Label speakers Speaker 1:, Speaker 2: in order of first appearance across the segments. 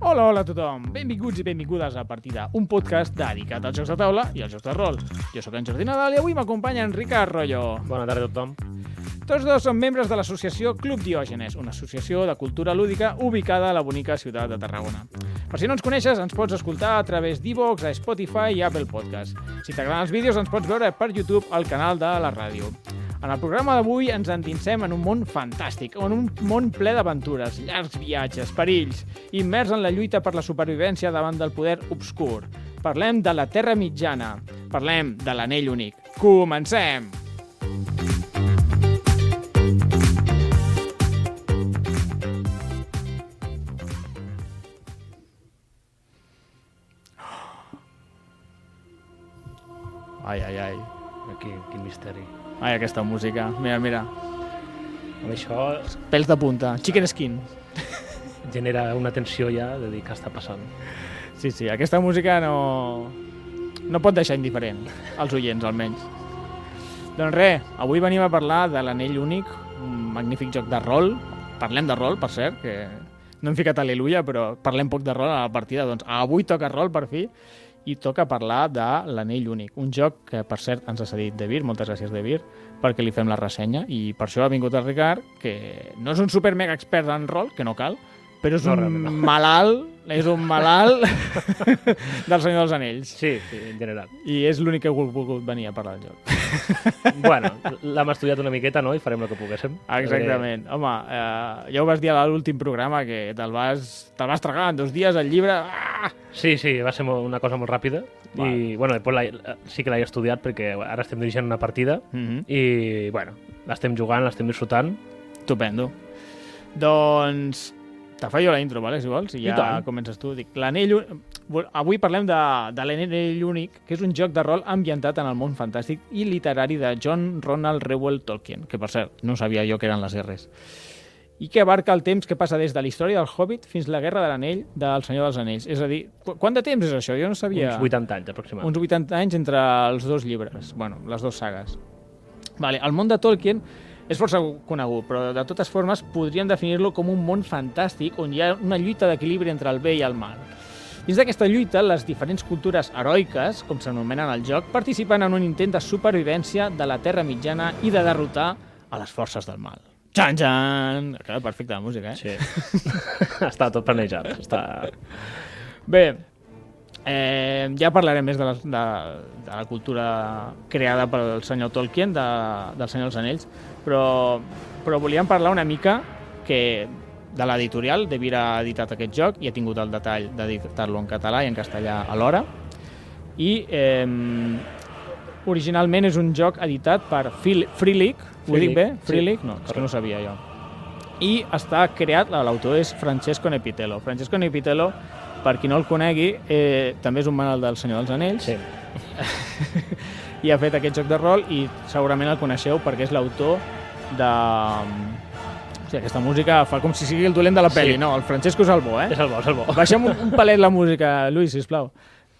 Speaker 1: Hola, hola a tothom. Benvinguts i benvingudes a Partida, un podcast dedicat als jocs de taula i als jocs de rol. Jo sóc en Jordi Nadal i avui m'acompanya en Ricard Rolló.
Speaker 2: Bona tarda a tothom.
Speaker 1: Tots dos són membres de l'associació Club Diògenes, una associació de cultura lúdica ubicada a la bonica ciutat de Tarragona. Per si no ens coneixes, ens pots escoltar a través d'Evox, a Spotify i Apple Podcast. Si t'agraden els vídeos, ens pots veure per YouTube al canal de la ràdio. En el programa d'avui ens endinsem en un món fantàstic, en un món ple d'aventures, llargs viatges, perills, immers en la lluita per la supervivència davant del poder obscur. Parlem de la Terra Mitjana, parlem de l'anell únic. Comencem!
Speaker 2: Ai, ai, ai. Aquí, quin misteri.
Speaker 1: Ai, aquesta música. Mira, mira.
Speaker 2: Amb això
Speaker 1: Pèls de punta. Chicken skin.
Speaker 2: genera una tensió ja de dir què està passant.
Speaker 1: Sí, sí, aquesta música no... no pot deixar indiferent, els oients almenys. Doncs res, avui venim a parlar de l'Anell Únic, un magnífic joc de rol. Parlem de rol, per cert, que no hem ficat aleluia, però parlem poc de rol a la partida. Doncs avui toca rol, per fi, i toca parlar de l'Anell Únic, un joc que, per cert, ens ha cedit De Vir, moltes gràcies, De Vir, perquè li fem la ressenya, i per això ha vingut el Ricard, que no és un super mega expert en rol, que no cal, però és
Speaker 2: No,
Speaker 1: no, un
Speaker 2: realment no.
Speaker 1: malalt, és un malalt del Senyor dels Anells.
Speaker 2: Sí, sí, en general.
Speaker 1: I és l'únic que he volgut venir a parlar del joc.
Speaker 2: bueno, l'hem estudiat una miqueta, no? I farem el que poguéssim.
Speaker 1: Exactament. Home, eh, ja ho vas dir a l'últim programa, que te'l vas, te vas tragar en dos dies el llibre. Ah!
Speaker 2: Perquè- Eh, Sí, sí, va ser mo- una cosa molt ràpida. I, bueno, després la, sí que l'he estudiat perquè ara estem dirigint una partida
Speaker 1: Mm -hmm.
Speaker 2: i, bueno, l'estem jugant, l'estem disfrutant.
Speaker 1: Estupendo. Doncs te fa jo la intro, vale, si vols, i
Speaker 2: I
Speaker 1: ja
Speaker 2: tant.
Speaker 1: comences tu. Dic, l'anell... un- Vol- Avui parlem de, de l'anell únic, que és un joc de rol ambientat en el món fantàstic i literari de John Ronald Reuel Tolkien, que per cert, no sabia jo que eren les R's, i que abarca el temps que passa des de la història del Hobbit fins la Guerra de l'Anell del Senyor dels Anells. És a dir, qu quant de temps és això? Jo no sabia
Speaker 2: Uns 80 anys, aproximadament.
Speaker 1: uns 80 anys entre els dos llibres, bueno, les dues sagues. Vale, el món de Tolkien és força conegut, però de totes formes podríem definir-lo com un món fantàstic on hi ha una lluita d'equilibri entre el bé i el mal. Dins d'aquesta lluita, les diferents cultures heroiques, com s'anomenen al joc, participen en un intent de supervivència de la Terra Mitjana i de derrotar a les forces del mal. Jan, jan! Ha quedat perfecta la música, eh?
Speaker 2: Sí. està tot planejat. Està...
Speaker 1: Bé, eh, ja parlarem més de la, de, de la cultura creada pel senyor Tolkien, de, del Senyor dels Anells, però, però volíem parlar una mica que de l'editorial, De Vira ha editat aquest joc i ha tingut el detall d'editar-lo en català i en castellà alhora. I eh, originalment és un joc editat per Phil, Freelick, ho dic
Speaker 2: Freelick,
Speaker 1: bé?
Speaker 2: sí.
Speaker 1: Freelick? No, és que no ho sabia jo i està creat, l'autor és Francesco Nepitello. Francesco Nepitello, per qui no el conegui, eh, també és un manal del Senyor dels Anells
Speaker 2: Sí.
Speaker 1: i ha fet aquest joc de rol i segurament el coneixeu perquè és l'autor de... O sigui, aquesta música fa com si sigui el dolent de la
Speaker 2: Sí.
Speaker 1: pel·li, no? El Francesco és el bo, eh?
Speaker 2: És el bo, és el bo.
Speaker 1: Baixa'm un, un palet la música, Lluís, sisplau.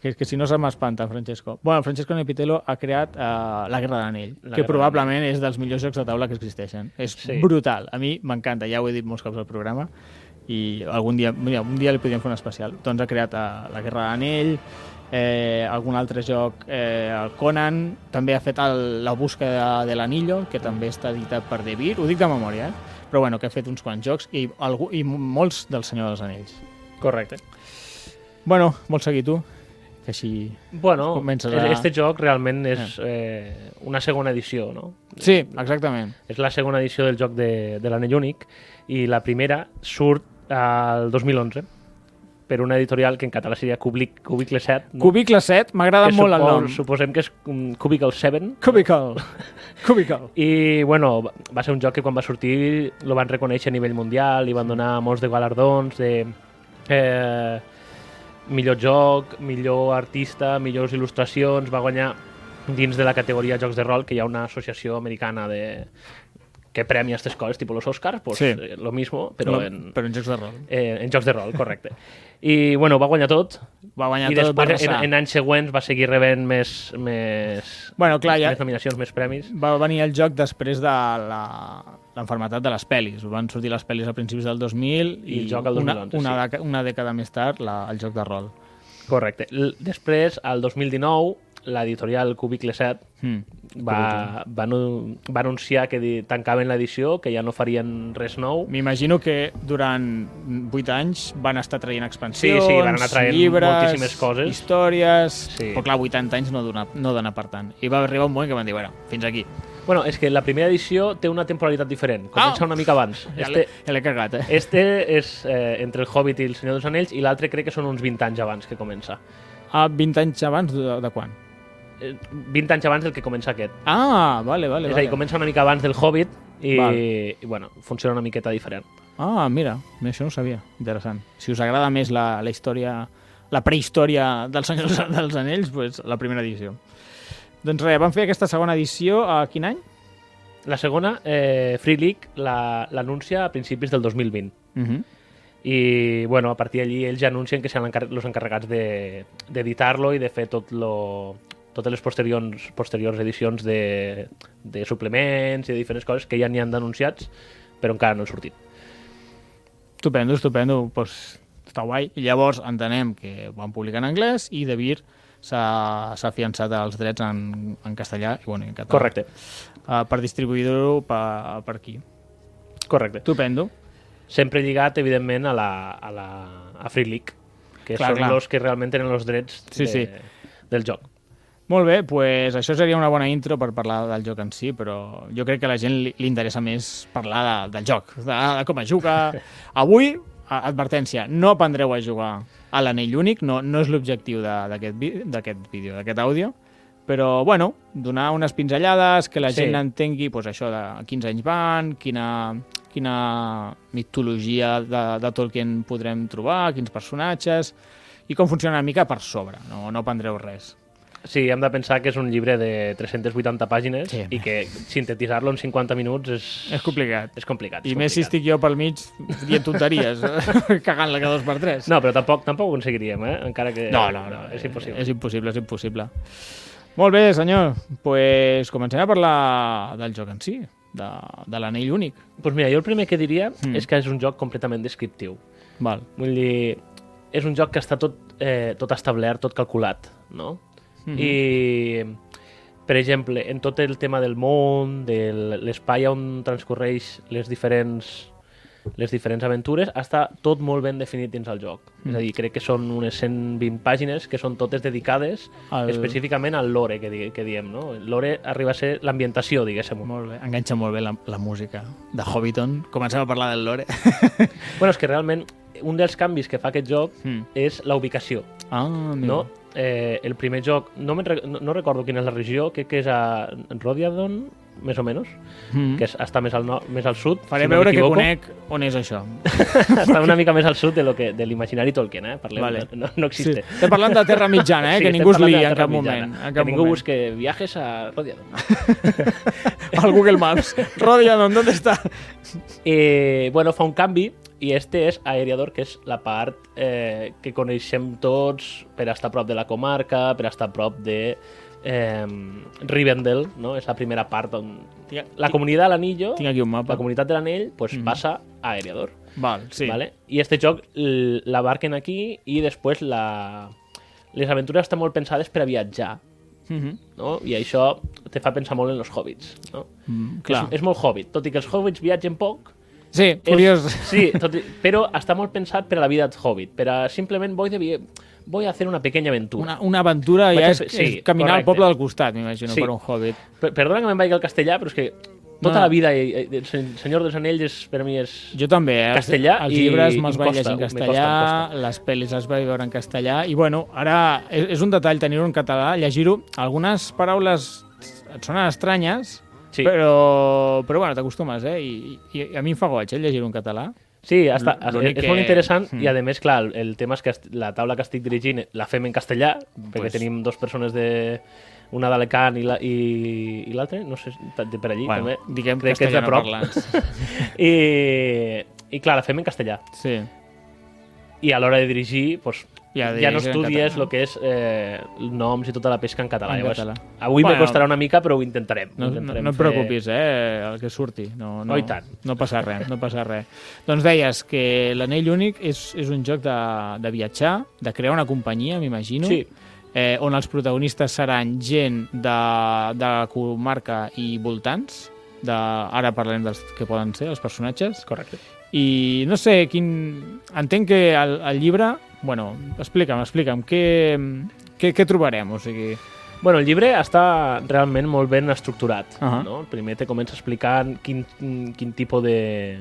Speaker 1: Que, que si no se m'espanta, Francesco. Bueno, Francesco Nepitello ha creat uh, La Guerra de l'Anell,
Speaker 2: La
Speaker 1: que
Speaker 2: Guerra
Speaker 1: probablement és dels millors jocs de taula que existeixen. És sí.
Speaker 2: Sí.
Speaker 1: brutal. A mi m'encanta, ja ho he dit molts cops al programa i algun dia, mira, un dia li podríem fer un especial. Doncs ha creat uh, La Guerra de l'Anell, eh, algun altre joc, eh, el Conan, també ha fet el, La busca de, de l'anillo, que també està editat per De Vir, ho dic de memòria, eh? però bueno, que ha fet uns quants jocs i, algú, i molts del Senyor dels Anells.
Speaker 2: Correcte.
Speaker 1: Bueno, vols seguir tu? Que així...
Speaker 2: Bueno,
Speaker 1: Comences
Speaker 2: a...
Speaker 1: a-
Speaker 2: este joc realment és eh, una segona edició, no?
Speaker 1: Sí, exactament.
Speaker 2: És la segona edició del joc de, de l'Anell Únic i la primera surt al 2011 per una editorial que en català seria Cubic, Cubicle 7. No?
Speaker 1: Cubicle 7, m'agrada
Speaker 2: Que
Speaker 1: molt el
Speaker 2: supo-
Speaker 1: nom.
Speaker 2: Suposem que és um, Cubicle 7
Speaker 1: Cubicle. Cubicle.
Speaker 2: i bueno, va- va ser un joc que quan va sortir lo van reconèixer a nivell mundial, li van donar molts de galardons de eh, millor joc, millor artista, millors il·lustracions, va guanyar dins de la categoria jocs de rol, que hi ha una associació americana de que premia estas coses, tipus los Oscars, pues
Speaker 1: Sí.
Speaker 2: eh, lo mismo, però en,
Speaker 1: Però en jocs de rol.
Speaker 2: eh, en jocs de rol, correcte. I, bueno, va guanyar tot.
Speaker 1: Va guanyar
Speaker 2: I
Speaker 1: tot, va
Speaker 2: després, en,
Speaker 1: arrasar.
Speaker 2: en anys següents, va seguir rebent més, més,
Speaker 1: Bueno, clar, ja-
Speaker 2: més nominacions, més premis.
Speaker 1: va venir el joc després de la l'enfermetat de les pel·lis. Van sortir les pel·lis a principis del 2000 i,
Speaker 2: I el joc al
Speaker 1: una,
Speaker 2: 2011,
Speaker 1: una,
Speaker 2: sí.
Speaker 1: deca- una dècada més tard la, el joc de rol.
Speaker 2: Correcte. L després, al 2019, l'editorial Cubicle 7
Speaker 1: Hmm.
Speaker 2: va, va, anu- va anunciar que di- tancaven l'edició, que ja no farien res nou.
Speaker 1: M'imagino que durant 8 anys van estar traient expansions,
Speaker 2: Sí, sí, van anar traient
Speaker 1: llibres,
Speaker 2: moltíssimes coses.
Speaker 1: històries... Sí.
Speaker 2: Sí.
Speaker 1: Però clar, 80 anys no dona, no dona per tant. I va arribar un moment que van dir, bueno, fins aquí.
Speaker 2: Bueno, és que la primera edició té una temporalitat diferent. Comença
Speaker 1: Ah!
Speaker 2: una mica abans.
Speaker 1: Ja
Speaker 2: Este,
Speaker 1: l'he ja l'he cagat, eh?
Speaker 2: este és eh, entre el Hobbit i el Senyor dels Anells i l'altre crec que són uns 20 anys abans que comença.
Speaker 1: Ah, 20 anys abans de, de quan?
Speaker 2: Eh, 20 anys abans del que comença aquest.
Speaker 1: Ah, vale, vale.
Speaker 2: és a
Speaker 1: vale.
Speaker 2: dir, comença una mica abans del Hobbit i,
Speaker 1: Val.
Speaker 2: i bueno, funciona una miqueta diferent.
Speaker 1: Ah, mira, mira, això no ho sabia. Interessant. Si us agrada més la, la història, la prehistòria dels Senyors dels Anells, pues, la primera edició. Doncs res, vam fer aquesta segona edició a quin any?
Speaker 2: La segona, eh, Free League, la- l'anuncia a principis del 2020.
Speaker 1: Uh -huh.
Speaker 2: Mhm. i bueno, a partir d'allí ells ja anuncien que seran encar els encarregats de- d'editar-lo i de fer tot lo, totes les posteriors, posteriors edicions de, de suplements i de diferents coses que ja n'hi han denunciats però encara no han sortit.
Speaker 1: Estupendo, estupendo. Pues, està guai. I llavors entenem que van publicar en anglès i De Vir s'ha s'ha afiançat als drets en, en castellà i bueno, i en català.
Speaker 2: Correcte,
Speaker 1: Uh, per distribuir-ho per, per aquí.
Speaker 2: correcte.
Speaker 1: Estupendo.
Speaker 2: Sempre lligat, evidentment, a la, a la a Free League, que
Speaker 1: Clar,
Speaker 2: clar, són
Speaker 1: clar.
Speaker 2: els que realment tenen els drets
Speaker 1: Sí,
Speaker 2: de,
Speaker 1: sí.
Speaker 2: del joc.
Speaker 1: Molt bé, pues això seria una bona intro per parlar del joc en si, però jo crec que a la gent li, li interessa més parlar de, del joc, de, de com es juga. Avui, a- advertència, no aprendreu a jugar a l'anell únic, no, no és l'objectiu de- d'aquest vi- d'aquest vídeo, d'aquest àudio, però, bueno, donar unes pinzellades, que la
Speaker 2: Sí.
Speaker 1: gent entengui pues, això de quins anys van, quina, quina mitologia de, de Tolkien podrem trobar, quins personatges, i com funciona una mica per sobre, no, no aprendreu res.
Speaker 2: Sí, hem de pensar que és un llibre de 380 pàgines
Speaker 1: Sí.
Speaker 2: i que sintetitzar-lo en 50 minuts és,
Speaker 1: És complicat.
Speaker 2: és complicat. És
Speaker 1: I més si
Speaker 2: complicat.
Speaker 1: estic jo pel mig dient tonteries, cagant-la cada dos per tres.
Speaker 2: No, però tampoc, tampoc ho aconseguiríem, eh? Encara que... és impossible.
Speaker 1: És impossible, és impossible. Molt bé, senyor. Doncs pues comencem a parlar del joc en si, de, de l'anell únic.
Speaker 2: Pues Doncs mira, jo el primer que diria
Speaker 1: Mm.
Speaker 2: mm. és que és un joc completament descriptiu.
Speaker 1: Val.
Speaker 2: Vull dir, és un joc que està tot, eh, tot establert, tot calculat, no?
Speaker 1: Mhm.
Speaker 2: Mm -hmm. I, per exemple, en tot el tema del món, de l'espai on transcorreix les diferents les diferents aventures, està tot molt ben definit dins el joc. Mm. És a dir, crec que són unes 120 pàgines que són totes dedicades
Speaker 1: Al-
Speaker 2: al... específicament al lore que, di que diem, no? El lore arriba a ser l'ambientació, diguéssim.
Speaker 1: Molt bé. Enganxa molt bé la, la música de Hobbiton. Comencem a parlar del lore.
Speaker 2: Bueno, és que realment un dels canvis que fa aquest joc
Speaker 1: Mm.
Speaker 2: és la ubicació,
Speaker 1: ah, mira.
Speaker 2: no? Eh, el primer joc, no, me'n rec- no, no recordo quina és la regió, crec que és a Rodiadon, més o menys,
Speaker 1: Mm.
Speaker 2: que és, està més al, nord, més al sud.
Speaker 1: Faré
Speaker 2: si no
Speaker 1: veure que
Speaker 2: m'equivoco.
Speaker 1: conec on és això.
Speaker 2: Està una mica més al sud de, lo que, de l'imaginari Tolkien, eh? Parlem,
Speaker 1: Vale.
Speaker 2: vale. no, no
Speaker 1: Sí.
Speaker 2: existe.
Speaker 1: Estem parlant de Terra Mitjana, eh? que
Speaker 2: estem
Speaker 1: ningú es
Speaker 2: parlant de
Speaker 1: liï
Speaker 2: la
Speaker 1: en
Speaker 2: Terra
Speaker 1: cap
Speaker 2: Mitjana.
Speaker 1: moment. En cap
Speaker 2: que ningú
Speaker 1: moment.
Speaker 2: busque viajes a Rodiadon.
Speaker 1: Al Google Maps. Rodianon, on està?
Speaker 2: Eh, bueno, fa un canvi i este és Aeriador, que és la part eh, que coneixem tots per estar a prop de la comarca, per estar a prop de eh, Rivendell, no? és la primera part on... La comunitat de l'anillo,
Speaker 1: Tinc aquí un mapa.
Speaker 2: la comunitat de l'anell, pues, passa a Aeriador.
Speaker 1: Val, sí.
Speaker 2: ¿vale? I este joc l- l'abarquen aquí i després la... les aventures estan molt pensades per a viatjar,
Speaker 1: Mhm.
Speaker 2: no? i això te fa pensar molt en els hobbits. No?
Speaker 1: Mm, clar.
Speaker 2: És, és molt hobbit, tot i que els hobbits viatgen poc,
Speaker 1: Sí,
Speaker 2: és-
Speaker 1: curiós.
Speaker 2: Sí, tot i- però està molt pensat per a la vida de Hobbit, per a simplement voy, de, vi- voy a hacer una pequeña aventura.
Speaker 1: Una, una aventura
Speaker 2: Vaig
Speaker 1: ja
Speaker 2: a
Speaker 1: és,
Speaker 2: fer-
Speaker 1: sí,
Speaker 2: sí,
Speaker 1: és caminar al
Speaker 2: correcte.
Speaker 1: poble del costat, m'imagino,
Speaker 2: Sí.
Speaker 1: per un hobbit.
Speaker 2: Per- Perdona que me'n vagi al castellà, però és que tota
Speaker 1: No.
Speaker 2: la vida eh, eh, del sen- Senyor dels Anells és, per mi és...
Speaker 1: Jo també, eh? Els-
Speaker 2: Castellà
Speaker 1: els
Speaker 2: i-
Speaker 1: llibres
Speaker 2: i
Speaker 1: me'ls
Speaker 2: em
Speaker 1: vaig
Speaker 2: costa,
Speaker 1: llegir en
Speaker 2: em costa, em
Speaker 1: castellà, les pel·lis les vaig veure en castellà, i bueno, ara és, és un detall tenir-ho en català, llegir-ho. Algunes paraules et sonen estranyes,
Speaker 2: Sí.
Speaker 1: però, però bueno, t'acostumes, eh? I, i, i a mi em fa goig, eh, llegir-ho en català.
Speaker 2: Sí, està,
Speaker 1: L-
Speaker 2: és,
Speaker 1: l'únic
Speaker 2: és molt
Speaker 1: que-
Speaker 2: interessant
Speaker 1: Mm.
Speaker 2: i, a més, clar, el, eh, el tema és que est- la taula que estic dirigint la fem en castellà, perquè
Speaker 1: Pues-
Speaker 2: tenim dues persones de... una d'Alecant i la- i- i l'altra, no sé, de per allí
Speaker 1: Bueno,
Speaker 2: també.
Speaker 1: diguem
Speaker 2: Crec que és de prop.
Speaker 1: castellanoparlants.
Speaker 2: I, I clar, la fem en castellà.
Speaker 1: Sí.
Speaker 2: I a l'hora de dirigir, doncs,
Speaker 1: Ja
Speaker 2: ja,
Speaker 1: dirigir
Speaker 2: ja no
Speaker 1: en
Speaker 2: estudies
Speaker 1: català.
Speaker 2: el que és eh, noms i tota la pesca en català.
Speaker 1: En
Speaker 2: Llavors,
Speaker 1: català.
Speaker 2: Avui
Speaker 1: Bueno.
Speaker 2: bueno, me costarà una mica, però ho intentarem.
Speaker 1: No, no,
Speaker 2: intentarem
Speaker 1: no et
Speaker 2: fer-
Speaker 1: preocupis, eh, el que surti. No, no,
Speaker 2: Oh, i tant.
Speaker 1: no passa res, no passa res. doncs deies que l'Anell Únic és, és un joc de, de viatjar, de crear una companyia, m'imagino,
Speaker 2: Sí.
Speaker 1: eh, on els protagonistes seran gent de, de la comarca i voltants, de, ara parlem dels que poden ser els personatges,
Speaker 2: Correcte.
Speaker 1: i no sé, quin... entenc que el, el llibre... Bueno, explica'm, explica'm, què, què, què trobarem? O sigui,
Speaker 2: Bueno, el llibre està realment molt ben estructurat. Uh
Speaker 1: Ahà.
Speaker 2: -huh. no? El primer te comença explicant quin, quin tipus de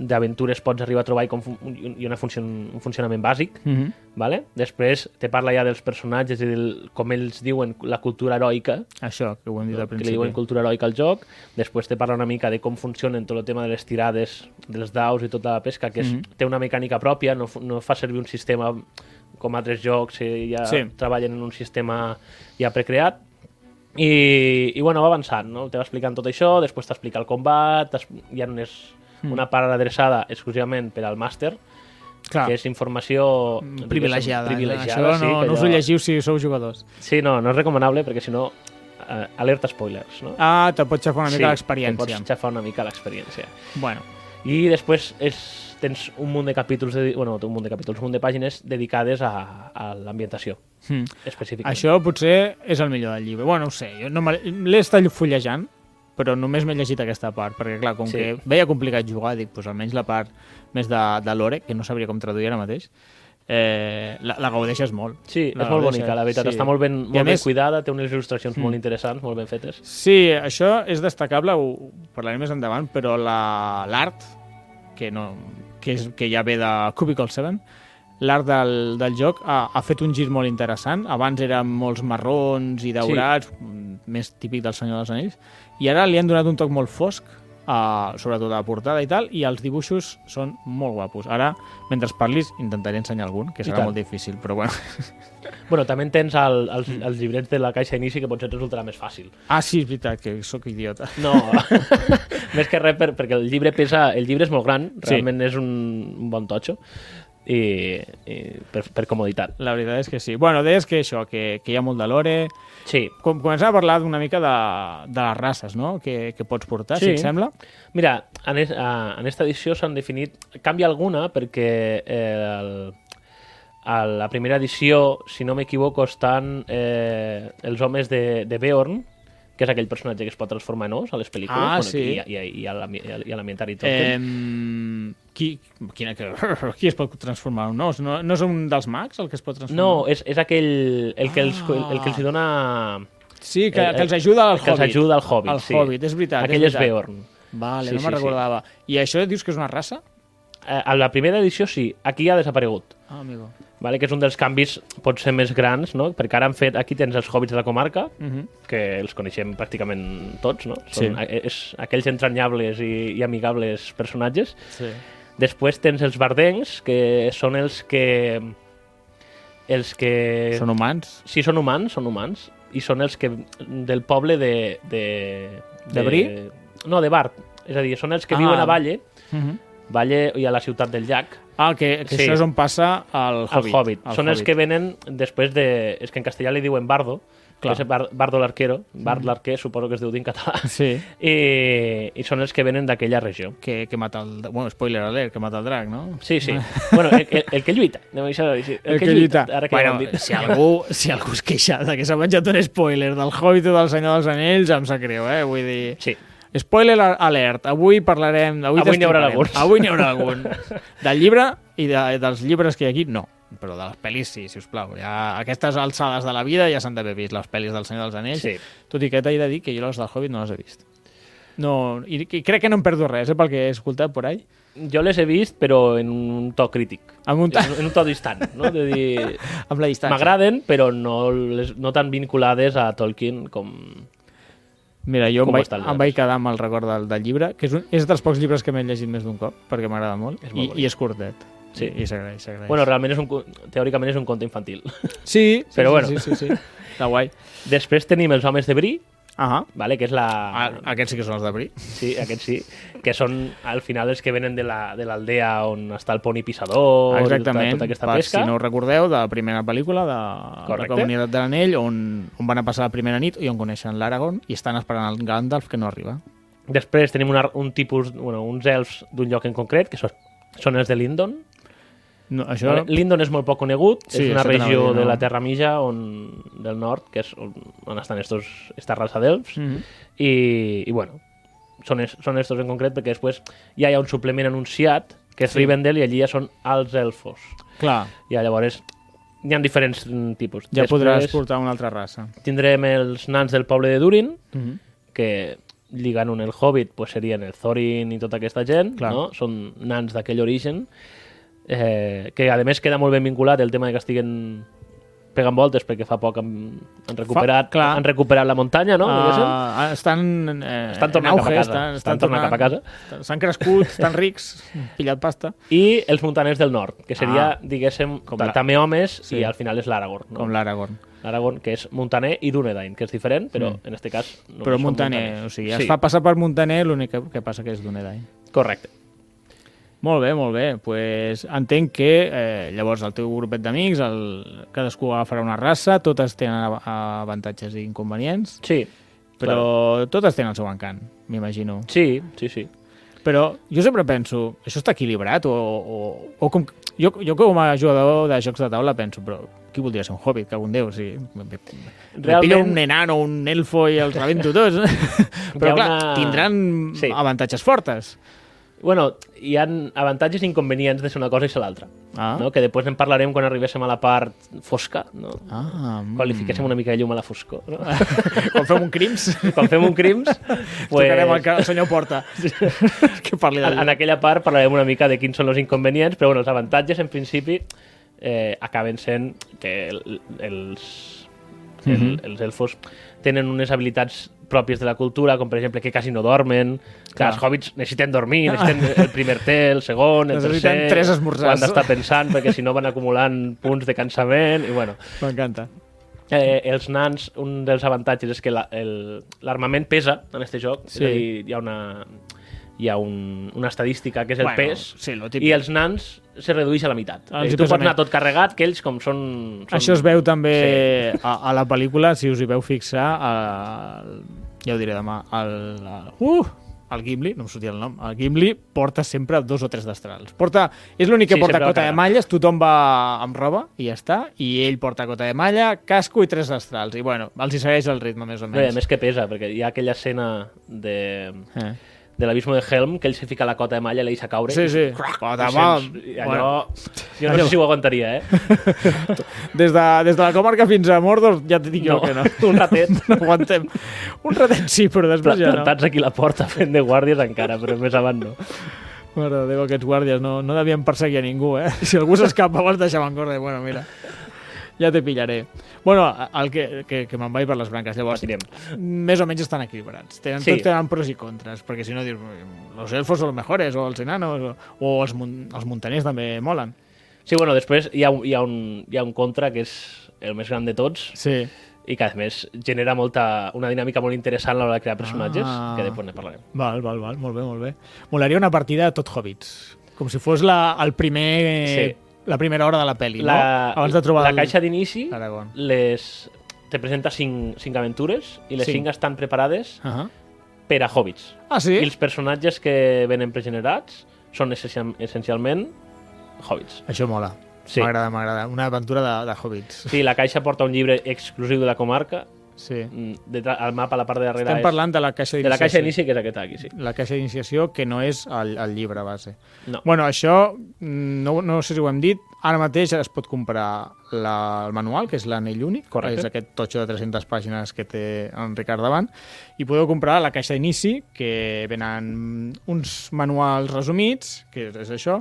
Speaker 2: d'aventures pots arribar a trobar i, com, fun- i una funció, un funcionament bàsic.
Speaker 1: uh -huh.
Speaker 2: Vale? Després te parla ja dels personatges i del, com ells diuen la cultura heroica,
Speaker 1: això, que ho hem dit al
Speaker 2: que
Speaker 1: principi.
Speaker 2: li diuen cultura heroica al joc. Després te parla una mica de com funciona tot el tema de les tirades, dels daus i tota la pesca, que és,
Speaker 1: Mhm.
Speaker 2: té una mecànica pròpia, no, fu- no fa servir un sistema com altres jocs, eh, ja
Speaker 1: Sí.
Speaker 2: treballen en un sistema ja precreat. I, i bueno, va avançant, no? Te va explicant tot això, després t'explica el combat, t'es- hi ha unes,
Speaker 1: Hmm.
Speaker 2: una part adreçada exclusivament per al màster,
Speaker 1: Clar.
Speaker 2: que és informació diguéssim,
Speaker 1: privilegiada.
Speaker 2: privilegiada
Speaker 1: Ah. Això no,
Speaker 2: sí, que
Speaker 1: no us ho
Speaker 2: allò-
Speaker 1: llegiu si sou jugadors.
Speaker 2: Sí, no, no és recomanable perquè si no, eh, alerta spoilers, no?
Speaker 1: Ah, te pot xafar una mica
Speaker 2: te
Speaker 1: l'experiència.
Speaker 2: Pots xafar una mica l'experiència.
Speaker 1: Bueno,
Speaker 2: I després és, tens un munt de capítols, de, bueno, un munt de capítols, un munt de pàgines dedicades a, a l'ambientació
Speaker 1: hm.
Speaker 2: específica.
Speaker 1: això potser és el millor del llibre. Bueno, ho sé, jo no me- l'he estat fullejant, però només m'he llegit aquesta part, perquè clar, com
Speaker 2: Sí.
Speaker 1: que veia complicat jugar, dic, doncs almenys la part més de, de l'Ore, que no sabria com traduir ara mateix, eh, la, la gaudeixes molt.
Speaker 2: Sí,
Speaker 1: la
Speaker 2: és molt
Speaker 1: gaudeixes,
Speaker 2: bonica, la veritat.
Speaker 1: sí.
Speaker 2: Sí. Està molt ben,
Speaker 1: I a
Speaker 2: molt
Speaker 1: més- Hmm.
Speaker 2: ben cuidada, té unes il·lustracions molt interessants, molt ben fetes.
Speaker 1: Sí, això és destacable, ho ho parlarem més endavant, però la- l'art, la, que, no, que, és, que ja ve de Cubicle 7, l'art del, del joc ha, ha fet un gir molt interessant. Abans eren molts marrons i daurats, mm, més típic del Senyor dels Anells, i ara li han donat un toc molt fosc, a, sobretot a la portada i tal, i els dibuixos són molt guapos. Ara, mentre parlis, intentaré ensenyar algun, que
Speaker 2: I
Speaker 1: serà
Speaker 2: tant.
Speaker 1: molt difícil, però bueno.
Speaker 2: Bueno, també tens el, els,
Speaker 1: Hmm.
Speaker 2: els llibrets de la caixa inici que potser et resultarà més fàcil.
Speaker 1: Ah, sí, és veritat, que sóc idiota.
Speaker 2: No, més que res per, perquè el llibre pesa, el llibre és molt gran,
Speaker 1: Sí.
Speaker 2: realment és un, un bon totxo i, i per, per comoditat.
Speaker 1: La veritat és que sí. Bueno, deies que això, que, que hi ha molt de lore...
Speaker 2: Sí,
Speaker 1: Com, començar a parlar una mica de, de les races, no?, que, que pots portar, sí. si
Speaker 2: Sí.
Speaker 1: et sembla.
Speaker 2: Mira, en, es, a, en esta edició s'han definit... Canvia alguna perquè eh, el, a la primera edició, si no m'equivoco, estan eh, els homes de, de Beorn, que és aquell personatge que es pot transformar en os a les pel·lícules
Speaker 1: Ah, sí.
Speaker 2: i, a- i, a- i, a l'ambi- i, a- i a l'ambientari tot.
Speaker 1: Eh, qui, quina, que, qui es pot transformar en un os? No, no és un dels mags el que es pot transformar?
Speaker 2: No, és, és aquell el que, els, el, que els hi dona...
Speaker 1: Sí, que,
Speaker 2: el-
Speaker 1: que els ajuda al
Speaker 2: el Eh, que els
Speaker 1: Hobbit.
Speaker 2: ajuda al Hobbit,
Speaker 1: Al
Speaker 2: sí.
Speaker 1: Hobbit, és veritat.
Speaker 2: aquell és,
Speaker 1: veritat.
Speaker 2: Beorn.
Speaker 1: Vale,
Speaker 2: Sí,
Speaker 1: no me'n
Speaker 2: sí, sí.
Speaker 1: recordava. I això dius que és una raça?
Speaker 2: Eh, A la primera edició sí, aquí ha desaparegut.
Speaker 1: Ah, amigo.
Speaker 2: Vale, que és un dels canvis potser més grans, no? perquè ara han fet, aquí tens els hobbits de la comarca,
Speaker 1: Uh -huh.
Speaker 2: que els coneixem pràcticament tots, no?
Speaker 1: Sí.
Speaker 2: Són, a- és, aquells entranyables i, i amigables personatges.
Speaker 1: Sí.
Speaker 2: Després tens els bardencs, que són els que... Els que...
Speaker 1: Són humans?
Speaker 2: Sí, són humans, són humans, i són els que... del poble de... De,
Speaker 1: De Bri?
Speaker 2: No, de Bard. És a dir, són els que
Speaker 1: Ah.
Speaker 2: ah. viuen a Valle,
Speaker 1: Uh -huh.
Speaker 2: Valle i a la ciutat del llac,
Speaker 1: Ah, que, que sí.
Speaker 2: Mhm. Sí.
Speaker 1: això és on passa el Hobbit.
Speaker 2: El Hobbit.
Speaker 1: El
Speaker 2: Són els
Speaker 1: Hobbit.
Speaker 2: que venen després de... És que en castellà li diuen Bardo,
Speaker 1: Clar.
Speaker 2: Clar. que és Bar Bardo l'arquero, Bard l'arquer, suposo que es diu dir en català.
Speaker 1: Sí.
Speaker 2: I, I són els que venen d'aquella regió.
Speaker 1: que, que mata el... Bueno, spoiler alert, que mata el drac, no?
Speaker 2: Sí, sí. bueno, el, el, el que lluita. Anem a deixar de dir. El, Ara Eh, que bueno,
Speaker 1: bueno,
Speaker 2: ho hem dit.
Speaker 1: si algú, si algú es queixa de que s'ha menjat un spoiler del Hobbit o del Senyor dels Anells, em sap greu, eh? Vull dir...
Speaker 2: Sí.
Speaker 1: Spoiler alert, avui parlarem... Avui,
Speaker 2: Avui n'hi haurà
Speaker 1: t'explicarem.
Speaker 2: alguns.
Speaker 1: Avui n'hi haurà algun. Del llibre i de, dels llibres que hi ha aquí, no. Però de les pel·lis sí, si us plau. Ja, aquestes alçades de la vida ja s'han d'haver vist, les pel·lis del Senyor dels Anells.
Speaker 2: Sí.
Speaker 1: Tot i que t'he de dir que jo les del Hobbit no les he vist. No, i, i crec que no em perdo res, eh, pel que he escoltat por ahí.
Speaker 2: Jo les he vist, però en un to crític.
Speaker 1: Amb un...
Speaker 2: En, en un to distant, no? De dir...
Speaker 1: Amb la distància.
Speaker 2: M'agraden, però no, les, no tan vinculades a Tolkien com...
Speaker 1: Mira, jo em
Speaker 2: Com
Speaker 1: vaig,
Speaker 2: està el
Speaker 1: em vaig quedar amb el record del, del llibre, que és, un, és dels pocs llibres que m'he llegit més d'un cop, perquè m'agrada molt,
Speaker 2: És molt
Speaker 1: i,
Speaker 2: bonic.
Speaker 1: i és curtet.
Speaker 2: Sí.
Speaker 1: I, i s'agraeix, s'agraeix.
Speaker 2: Bueno, realment és un, co- teòricament és un conte infantil.
Speaker 1: sí, sí, sí,
Speaker 2: però bueno.
Speaker 1: sí, sí, sí. Està guai.
Speaker 2: Després tenim els homes de Bri,
Speaker 1: Ah,
Speaker 2: vale, que és la...
Speaker 1: ah, aquests sí que són els de Bri.
Speaker 2: Sí, aquests sí, que són al final els que venen de la- de l'aldea la, on està el poni pissador i
Speaker 1: Exactament,
Speaker 2: tota, tota aquesta
Speaker 1: per
Speaker 2: pesca.
Speaker 1: si no ho recordeu, de la primera pel·lícula de la
Speaker 2: Correcte.
Speaker 1: Comunitat de l'Anell, on, on van a passar la primera nit i on coneixen l'Aragorn i estan esperant el Gandalf que no arriba.
Speaker 2: Després tenim una, un tipus, bueno, uns elfs d'un lloc en concret, que són, són els de Lindon.
Speaker 1: No, això...
Speaker 2: Vale? Lindon és molt poc conegut,
Speaker 1: Sí,
Speaker 2: sí, és una
Speaker 1: això t'anava a
Speaker 2: regió
Speaker 1: dir, no?
Speaker 2: de la Terra Mitja on, del nord, que és on, on estan estos, esta raça d'elfs, mm.
Speaker 1: Mhm.
Speaker 2: i, i bueno, són, es, són estos en concret, perquè després ja hi ha un suplement anunciat, que és sí. Rivendell, i allí ja són els elfos.
Speaker 1: Clar,
Speaker 2: I ja, llavors hi ha diferents mm, tipus.
Speaker 1: ja
Speaker 2: Després
Speaker 1: podràs portar una altra raça.
Speaker 2: Tindrem els nans del poble de Durin,
Speaker 1: Mhm.
Speaker 2: que lligant un el Hobbit pues, serien el Thorin i tota aquesta gent,
Speaker 1: Clar.
Speaker 2: no? són nans d'aquell origen, eh, que a més queda molt ben vinculat el tema de que estiguen pegant voltes perquè fa poc han, han, recuperat,
Speaker 1: clar.
Speaker 2: han recuperat la muntanya, no? diguéssim?
Speaker 1: Ah, estan, eh,
Speaker 2: Estan tornant
Speaker 1: en auge,
Speaker 2: cap a casa.
Speaker 1: Estan,
Speaker 2: Estan tornant cap a casa.
Speaker 1: estan- S'han crescut, estan rics, han pillat pasta.
Speaker 2: I els muntaners del nord, que seria,
Speaker 1: Ah.
Speaker 2: diguéssim,
Speaker 1: Com
Speaker 2: ta-
Speaker 1: la-
Speaker 2: també homes
Speaker 1: Sí.
Speaker 2: i al final és l'Aragorn. No?
Speaker 1: Com l'Aragorn.
Speaker 2: L'Aragorn, que és muntaner i Dunedain, que és diferent, però en aquest cas... només
Speaker 1: Mm. Però
Speaker 2: són
Speaker 1: Montaner,
Speaker 2: muntaners.
Speaker 1: o sigui, es fa passar per Montaner, l'únic que, que passa que és Dunedain.
Speaker 2: Correcte.
Speaker 1: Molt bé, molt bé. Pues entenc que eh, llavors el teu grupet d'amics, el... cadascú agafarà una raça, totes tenen av- avantatges i inconvenients,
Speaker 2: Sí,
Speaker 1: però totes tenen el seu encant, m'imagino.
Speaker 2: sí, sí, sí.
Speaker 1: Però jo sempre penso, això està equilibrat o, o, o com... Jo, jo com a jugador de jocs de taula penso, però qui voldria ser un hobbit, que un déu? O sigui, me- me- me
Speaker 2: Realment-
Speaker 1: pillo un enano, un elfo i els rebento tots.
Speaker 2: Hi
Speaker 1: però
Speaker 2: ha
Speaker 1: clar,
Speaker 2: una-
Speaker 1: tindran
Speaker 2: Sí.
Speaker 1: sí. avantatges fortes.
Speaker 2: Bueno, hi ha avantatges i inconvenients de ser una cosa i ser l'altra.
Speaker 1: Ah.
Speaker 2: No? Que després en parlarem quan arribéssim a la part fosca, no?
Speaker 1: Ah, mm.
Speaker 2: Quan li fiquéssim una mica de llum a la foscor. No?
Speaker 1: quan fem un crims...
Speaker 2: quan fem un crims,
Speaker 1: Pues... Tocarem el,
Speaker 2: pues,
Speaker 1: ca- el senyor Porta. que parli
Speaker 2: en, en
Speaker 1: de...
Speaker 2: aquella part parlarem una mica de quins són els inconvenients, però bueno, els avantatges, en principi, eh, acaben sent que el, els, el,
Speaker 1: Mhm.
Speaker 2: els elfos tenen unes habilitats pròpies de la cultura, com per exemple que quasi no dormen, que
Speaker 1: Clar.
Speaker 2: els hobbits necessiten dormir, necessiten el primer té, el segon, el
Speaker 1: Necessiten
Speaker 2: tercer...
Speaker 1: tres esmorzars.
Speaker 2: Ho han d'estar pensant perquè si no van acumulant punts de cansament i bueno...
Speaker 1: M'encanta.
Speaker 2: Eh, els nans, un dels avantatges és que la- el- l'armament la, pesa en este joc, sí.
Speaker 1: Sí.
Speaker 2: és a dir, hi ha una hi ha un, una estadística que és el
Speaker 1: Bueno,
Speaker 2: pes
Speaker 1: sí, lo típic.
Speaker 2: i els nans se redueix a la meitat.
Speaker 1: Els
Speaker 2: És a dir,
Speaker 1: hi
Speaker 2: tu
Speaker 1: pesa
Speaker 2: pots anar
Speaker 1: menys.
Speaker 2: tot carregat, que ells com són... són
Speaker 1: Això es veu també a, a la pel·lícula, si us hi veu fixar, el, ja ho diré demà, el, el, uh, el Gimli, no em sortia el nom, el Gimli porta sempre dos o tres destrals. Porta, és l'únic que
Speaker 2: Sí,
Speaker 1: sí, porta
Speaker 2: sempre va
Speaker 1: cota de
Speaker 2: carregat.
Speaker 1: malles, tothom va amb roba i ja està, i ell porta cota de malla, casco i tres destrals. I bueno, els hi segueix el ritme, més o
Speaker 2: Bé, a
Speaker 1: menys.
Speaker 2: més que pesa, perquè hi ha aquella escena de,
Speaker 1: Eh.
Speaker 2: de l'abismo de Helm que ell se fica la cota de malla i la deixa caure.
Speaker 1: Sí,
Speaker 2: i-
Speaker 1: sí.
Speaker 2: Crac,
Speaker 1: Cota,
Speaker 2: i
Speaker 1: va.
Speaker 2: sents- i
Speaker 1: Bueno.
Speaker 2: Allò, jo no sé si ho aguantaria, eh?
Speaker 1: Des de, des de la comarca fins a Mordor, ja t'hi dic jo
Speaker 2: No,
Speaker 1: que no.
Speaker 2: un ratet.
Speaker 1: No aguantem. Un ratet sí, però després ja no.
Speaker 2: Plantats aquí a la porta fent de guàrdies encara, però més avant no.
Speaker 1: Mare de Déu, aquests guàrdies no, no devien perseguir a ningú, eh? Si algú s'escapava els deixaven córrer. Bueno, mira, ja te pillaré. Bueno, el que, que, que me'n vaig per les branques, llavors,
Speaker 2: Patirem.
Speaker 1: més o menys estan equilibrats. Tenen,
Speaker 2: Sí.
Speaker 1: sí. Tots tenen pros i contres, perquè si no dius, los elfos són los mejores, o els enanos, o, o els, mun, els muntaners també molen.
Speaker 2: Sí, bueno, després hi ha, un- hi, ha un, hi ha un contra que és el més gran de tots
Speaker 1: Sí.
Speaker 2: i que, a més, genera molta, una dinàmica molt interessant a l'hora de crear personatges,
Speaker 1: Ah.
Speaker 2: ah. que després ne parlarem.
Speaker 1: Val, val, val, molt bé, molt bé. Molaria una partida de tot hobbits, com si fos la, el primer,
Speaker 2: Sí.
Speaker 1: la primera hora de la pel·li, no? Abans de trobar
Speaker 2: la
Speaker 1: el...
Speaker 2: caixa d'inici
Speaker 1: Aragorn.
Speaker 2: les te presenta cinc, cinc aventures i les
Speaker 1: Sí.
Speaker 2: sí. cinc estan preparades
Speaker 1: Ah,
Speaker 2: per a hobbits.
Speaker 1: ah sí?
Speaker 2: I els personatges que venen pregenerats són essencial- essencialment hobbits.
Speaker 1: Això mola.
Speaker 2: Sí.
Speaker 1: M'agrada, m'agrada. Una aventura de, de hobbits.
Speaker 2: Sí, la caixa porta un llibre exclusiu de la comarca.
Speaker 1: Sí.
Speaker 2: Mm, Detrà, el mapa, a la part de darrere,
Speaker 1: Estem
Speaker 2: és
Speaker 1: parlant de la caixa
Speaker 2: de
Speaker 1: d'iniciació.
Speaker 2: la caixa d'inici, que és aquesta aquí, sí.
Speaker 1: La caixa d'iniciació, que no és el, el llibre base.
Speaker 2: No.
Speaker 1: Bueno, això, mm, no, no sé si ho hem dit, ara mateix es pot comprar la, el manual, que és l'anell únic,
Speaker 2: Correcte.
Speaker 1: és aquest totxo de 300 pàgines que té en Ricard davant, i podeu comprar la caixa d'inici, que venen uns manuals resumits, que és això,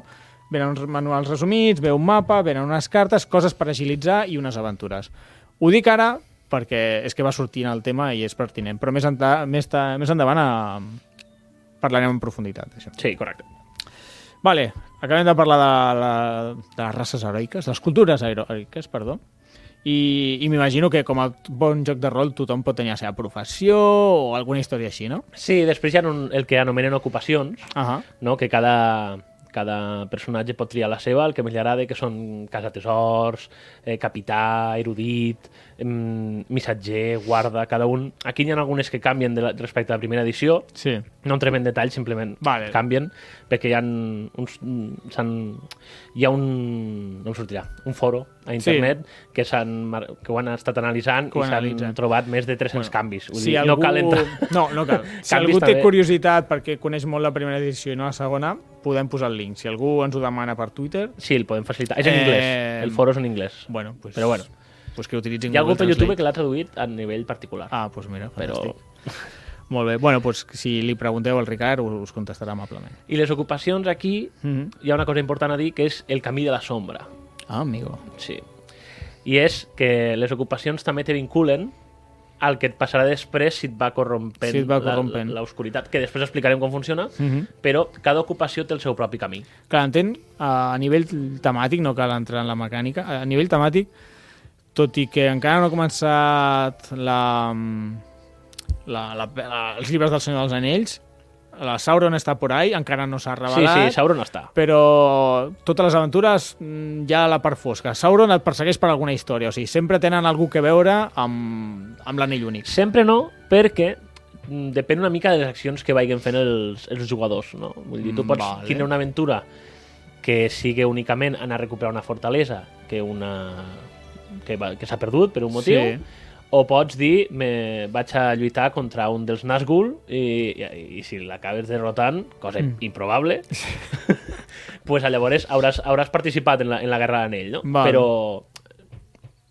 Speaker 1: venen uns manuals resumits, ve un mapa, venen unes cartes, coses per agilitzar i unes aventures. Ho dic ara perquè és que va sortint el tema i és pertinent, però més, enta, més, ta- més endavant a... parlarem en profunditat d'això.
Speaker 2: Sí, correcte.
Speaker 1: Vale, Acabem de parlar de, la, de les races heroiques, de les cultures heroiques, perdó. I, i m'imagino que com a bon joc de rol tothom pot tenir la seva professió o alguna història així, no?
Speaker 2: Sí, després hi ha un, el que anomenen ocupacions,
Speaker 1: Ahà.
Speaker 2: no? que cada, cada personatge pot triar la seva, el que més li agrada, que són casatesorts, eh, capità, erudit, em, missatger, guarda, cada un... Aquí hi ha algunes que canvien de la, respecte a la primera edició,
Speaker 1: Sí.
Speaker 2: no entrem en detall, simplement
Speaker 1: Vale.
Speaker 2: canvien, perquè hi ha, uns, s'han, hi ha un... no em sortirà, un foro a internet que, s'han, mar- que ho han estat analitzant
Speaker 1: Que ho
Speaker 2: i s'han
Speaker 1: analitzen.
Speaker 2: trobat més de 300 canvis. Vull
Speaker 1: Si
Speaker 2: dir,
Speaker 1: algú...
Speaker 2: No cal entrar...
Speaker 1: No, no cal. Si
Speaker 2: Canvis
Speaker 1: algú té
Speaker 2: també.
Speaker 1: curiositat perquè coneix molt la primera edició i no la segona, podem posar el link. Si algú ens ho demana per Twitter,
Speaker 2: Sí, el podem facilitar. És en
Speaker 1: Eh,
Speaker 2: anglès, el foro és en anglès.
Speaker 1: bueno, pues,
Speaker 2: Però bueno.
Speaker 1: pues que utilitzin
Speaker 2: Hi ha algú per
Speaker 1: Google
Speaker 2: YouTube
Speaker 1: Translate.
Speaker 2: que l'ha traduït a nivell particular.
Speaker 1: doncs, Ah, doncs pues mira,
Speaker 2: però...
Speaker 1: fantàstic. Molt bé. Bueno, pues, si li pregunteu al Ricard, us us contestarà amablement.
Speaker 2: I les ocupacions aquí
Speaker 1: Mhm.
Speaker 2: hi ha una cosa important a dir, que és el camí de la sombra.
Speaker 1: Ah, amigo.
Speaker 2: Sí. I és que les ocupacions també te vinculen al que et passarà després si et va corrompent
Speaker 1: Si et va
Speaker 2: la-
Speaker 1: corrompent.
Speaker 2: la- l'oscuritat, que després explicarem com funciona,
Speaker 1: Mhm.
Speaker 2: però cada ocupació té el seu propi camí.
Speaker 1: Clar, entenc, eh, a nivell temàtic, no cal entrar en la mecànica, a nivell temàtic, tot i que encara no ha començat la, mm, la, la, la, els llibres del Senyor dels Anells, la Sauron està por ahí, encara no s'ha revelat,
Speaker 2: Sí, sí, Sauron està.
Speaker 1: però totes les aventures mm, hi ha la part fosca. Sauron et persegueix per alguna història, o sigui, sempre tenen algú que veure amb, amb l'anell únic.
Speaker 2: Sempre no, perquè mm, depèn una mica de les accions que vagin fent els, els jugadors. No? Vull dir, tu
Speaker 1: Mm,
Speaker 2: pots
Speaker 1: vale.
Speaker 2: vale. tindre una aventura que sigui únicament anar a recuperar una fortalesa que una que, va- que s'ha perdut per un motiu,
Speaker 1: Sí.
Speaker 2: o pots dir me, vaig a lluitar contra un dels Nazgûl i, i, i si l'acabes derrotant, cosa mm. improbable, pues llavors hauràs, hauràs participat en la, en la Guerra de l'Anell, no?
Speaker 1: Val.
Speaker 2: Però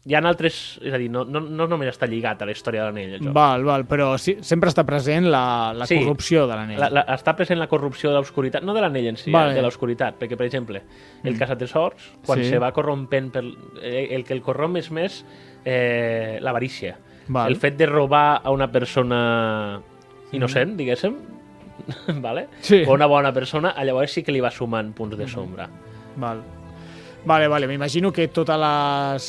Speaker 2: hi ha altres... És a dir, no, no, no només està lligat a la història de l'anell, el joc.
Speaker 1: Val, val, però sí, sempre està present la, la
Speaker 2: Sí.
Speaker 1: corrupció de l'anell.
Speaker 2: La, la, està present la corrupció de l'obscuritat, no de l'anell en si,
Speaker 1: Vale.
Speaker 2: vale. de l'obscuritat, perquè, per exemple, el mm. caçatesors, quan
Speaker 1: Sí.
Speaker 2: sí. se va corrompent, per, eh, el que el corromp és més eh, l'avarícia.
Speaker 1: Val.
Speaker 2: El fet de robar a una persona innocent, diguéssim, vale?
Speaker 1: Sí. Mm.
Speaker 2: o una bona persona, llavors sí que li va sumant punts de sombra.
Speaker 1: Val. Vale, vale, m'imagino que totes les,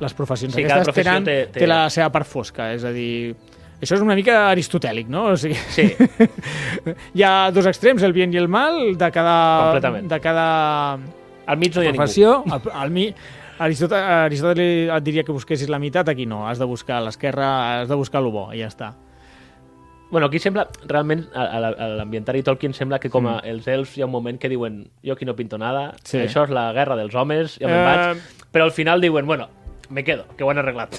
Speaker 1: les professions
Speaker 2: Sí, cada
Speaker 1: aquestes
Speaker 2: professió
Speaker 1: tenen,
Speaker 2: té- té-
Speaker 1: té la seva part fosca, és a dir... Això és una mica aristotèlic, no? O sigui,
Speaker 2: Sí,
Speaker 1: hi ha dos extrems, el bien i el mal, de cada,
Speaker 2: Completament.
Speaker 1: de cada
Speaker 2: al mig no hi ha ningú.
Speaker 1: professió. Al, al mi, Aristòtel, Aristòtel et diria que busquessis la meitat, aquí no, has de buscar a l'esquerra, has de buscar el bo, i ja està.
Speaker 2: Bueno, aquí sembla, realment, a, a la- a l'ambientari Tolkien sembla que com a els elfs hi ha un moment que diuen jo aquí no pinto nada,
Speaker 1: Mm. Sí.
Speaker 2: sí. això és la guerra dels homes, ja me'n
Speaker 1: Eh,
Speaker 2: vaig. Però al final diuen, bueno, me quedo, que ho han arreglat.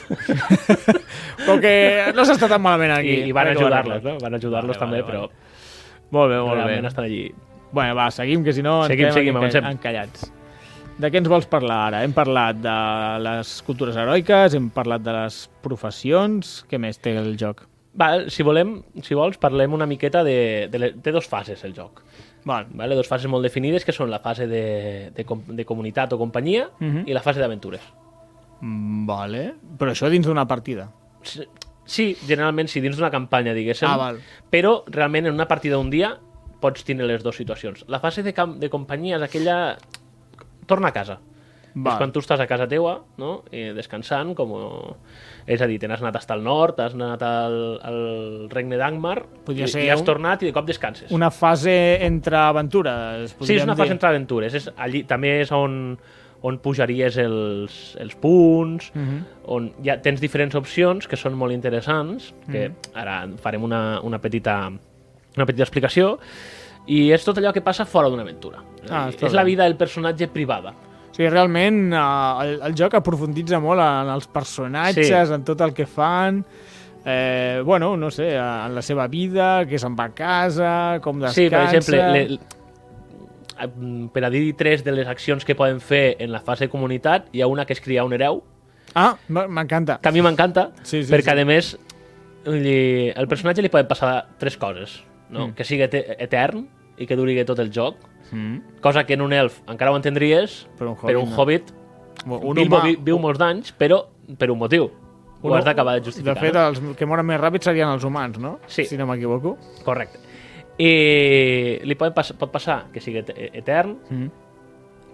Speaker 1: Com que no s'està tan malament aquí.
Speaker 2: I, i van
Speaker 1: Ara que ho
Speaker 2: ajudar-los,
Speaker 1: arreglen.
Speaker 2: no? Van ajudar-los
Speaker 1: Vale,
Speaker 2: també,
Speaker 1: vale,
Speaker 2: però
Speaker 1: Molt bé, molt
Speaker 2: realment
Speaker 1: bé.
Speaker 2: estan allí.
Speaker 1: Bueno, va, seguim, que si no ens
Speaker 2: Seguim,
Speaker 1: quedem
Speaker 2: seguim,
Speaker 1: aquí
Speaker 2: avancem.
Speaker 1: encallats. De què ens vols parlar ara? Hem parlat de les cultures heroiques, hem parlat de les professions, què més té el joc?
Speaker 2: Va, si volem, si vols, parlem una miqueta de... de le... Té dos fases, el joc.
Speaker 1: Val.
Speaker 2: Vale? Dos fases molt definides, que són la fase de, de, com... de comunitat o companyia
Speaker 1: Mhm.
Speaker 2: i la fase d'aventures.
Speaker 1: Mm, Vale. Però això dins d'una partida.
Speaker 2: Sí, Sí, generalment sí, dins d'una campanya, diguéssim.
Speaker 1: Ah, val.
Speaker 2: Però realment en una partida d'un dia pots tindre les dues situacions. La fase de, camp de companyia és aquella... Torna a casa.
Speaker 1: Val.
Speaker 2: És quan tu estàs a casa teua, no? Eh, descansant, com... És a dir, te n'has anat fins al nord, has anat al, al regne d'Angmar,
Speaker 1: Podria
Speaker 2: i,
Speaker 1: ser
Speaker 2: i has
Speaker 1: un-
Speaker 2: tornat i de cop descanses.
Speaker 1: Una fase entre aventures,
Speaker 2: Sí, és
Speaker 1: podríem
Speaker 2: una fase
Speaker 1: dir.
Speaker 2: entre aventures. És allí, també és on, on pujaries els, els punts,
Speaker 1: Mhm.
Speaker 2: on ja tens diferents opcions que són molt interessants, que
Speaker 1: Mhm.
Speaker 2: ara en farem una, una, petita, una petita explicació, i és tot allò que passa fora d'una aventura. És a
Speaker 1: Ah,
Speaker 2: dir,
Speaker 1: està
Speaker 2: és la
Speaker 1: bé.
Speaker 2: vida del personatge privada.
Speaker 1: O sigui, realment eh, el, el joc aprofunditza molt en els personatges, sí. en tot el que fan, eh, bueno, no sé, en la seva vida, que se'n va a casa, com descansa...
Speaker 2: Sí, per exemple, le, le- per a dir tres de les accions que poden fer en la fase de comunitat, hi ha una que és criar un hereu,
Speaker 1: Ah, m- m'encanta.
Speaker 2: que a mi m'encanta,
Speaker 1: Sí, sí,
Speaker 2: perquè
Speaker 1: sí.
Speaker 2: a més vull dir, al personatge li poden passar tres coses, no?
Speaker 1: Mm.
Speaker 2: que sigui ete- etern i que duri tot el joc,
Speaker 1: Mm.
Speaker 2: cosa que en un elf encara ho entendries,
Speaker 1: Per un
Speaker 2: per un
Speaker 1: hobbit no.
Speaker 2: hobbit
Speaker 1: Un
Speaker 2: Bilbo
Speaker 1: humà-
Speaker 2: vi, viu molts d'anys, però per un motiu. Ho
Speaker 1: un-
Speaker 2: has d'acabar de
Speaker 1: De
Speaker 2: justificar.
Speaker 1: fet, els que moren més ràpid serien els humans, no?
Speaker 2: eh? Sí.
Speaker 1: Si no m'equivoco.
Speaker 2: no? Correcte. I li pot, pas, pot passar que sigui et- etern,
Speaker 1: Mm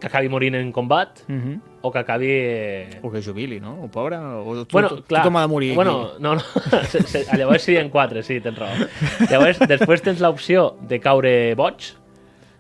Speaker 2: que acabi morint en combat,
Speaker 1: -hmm.
Speaker 2: o que acabi... eh,
Speaker 1: O que jubili, no? O pobre, o tu,
Speaker 2: Bueno,
Speaker 1: tu,
Speaker 2: clar,
Speaker 1: tothom ha de morir
Speaker 2: Bueno, no, no. Se, se, ah, llavors serien quatre, sí, tens raó. Llavors, després tens l'opció de caure boig,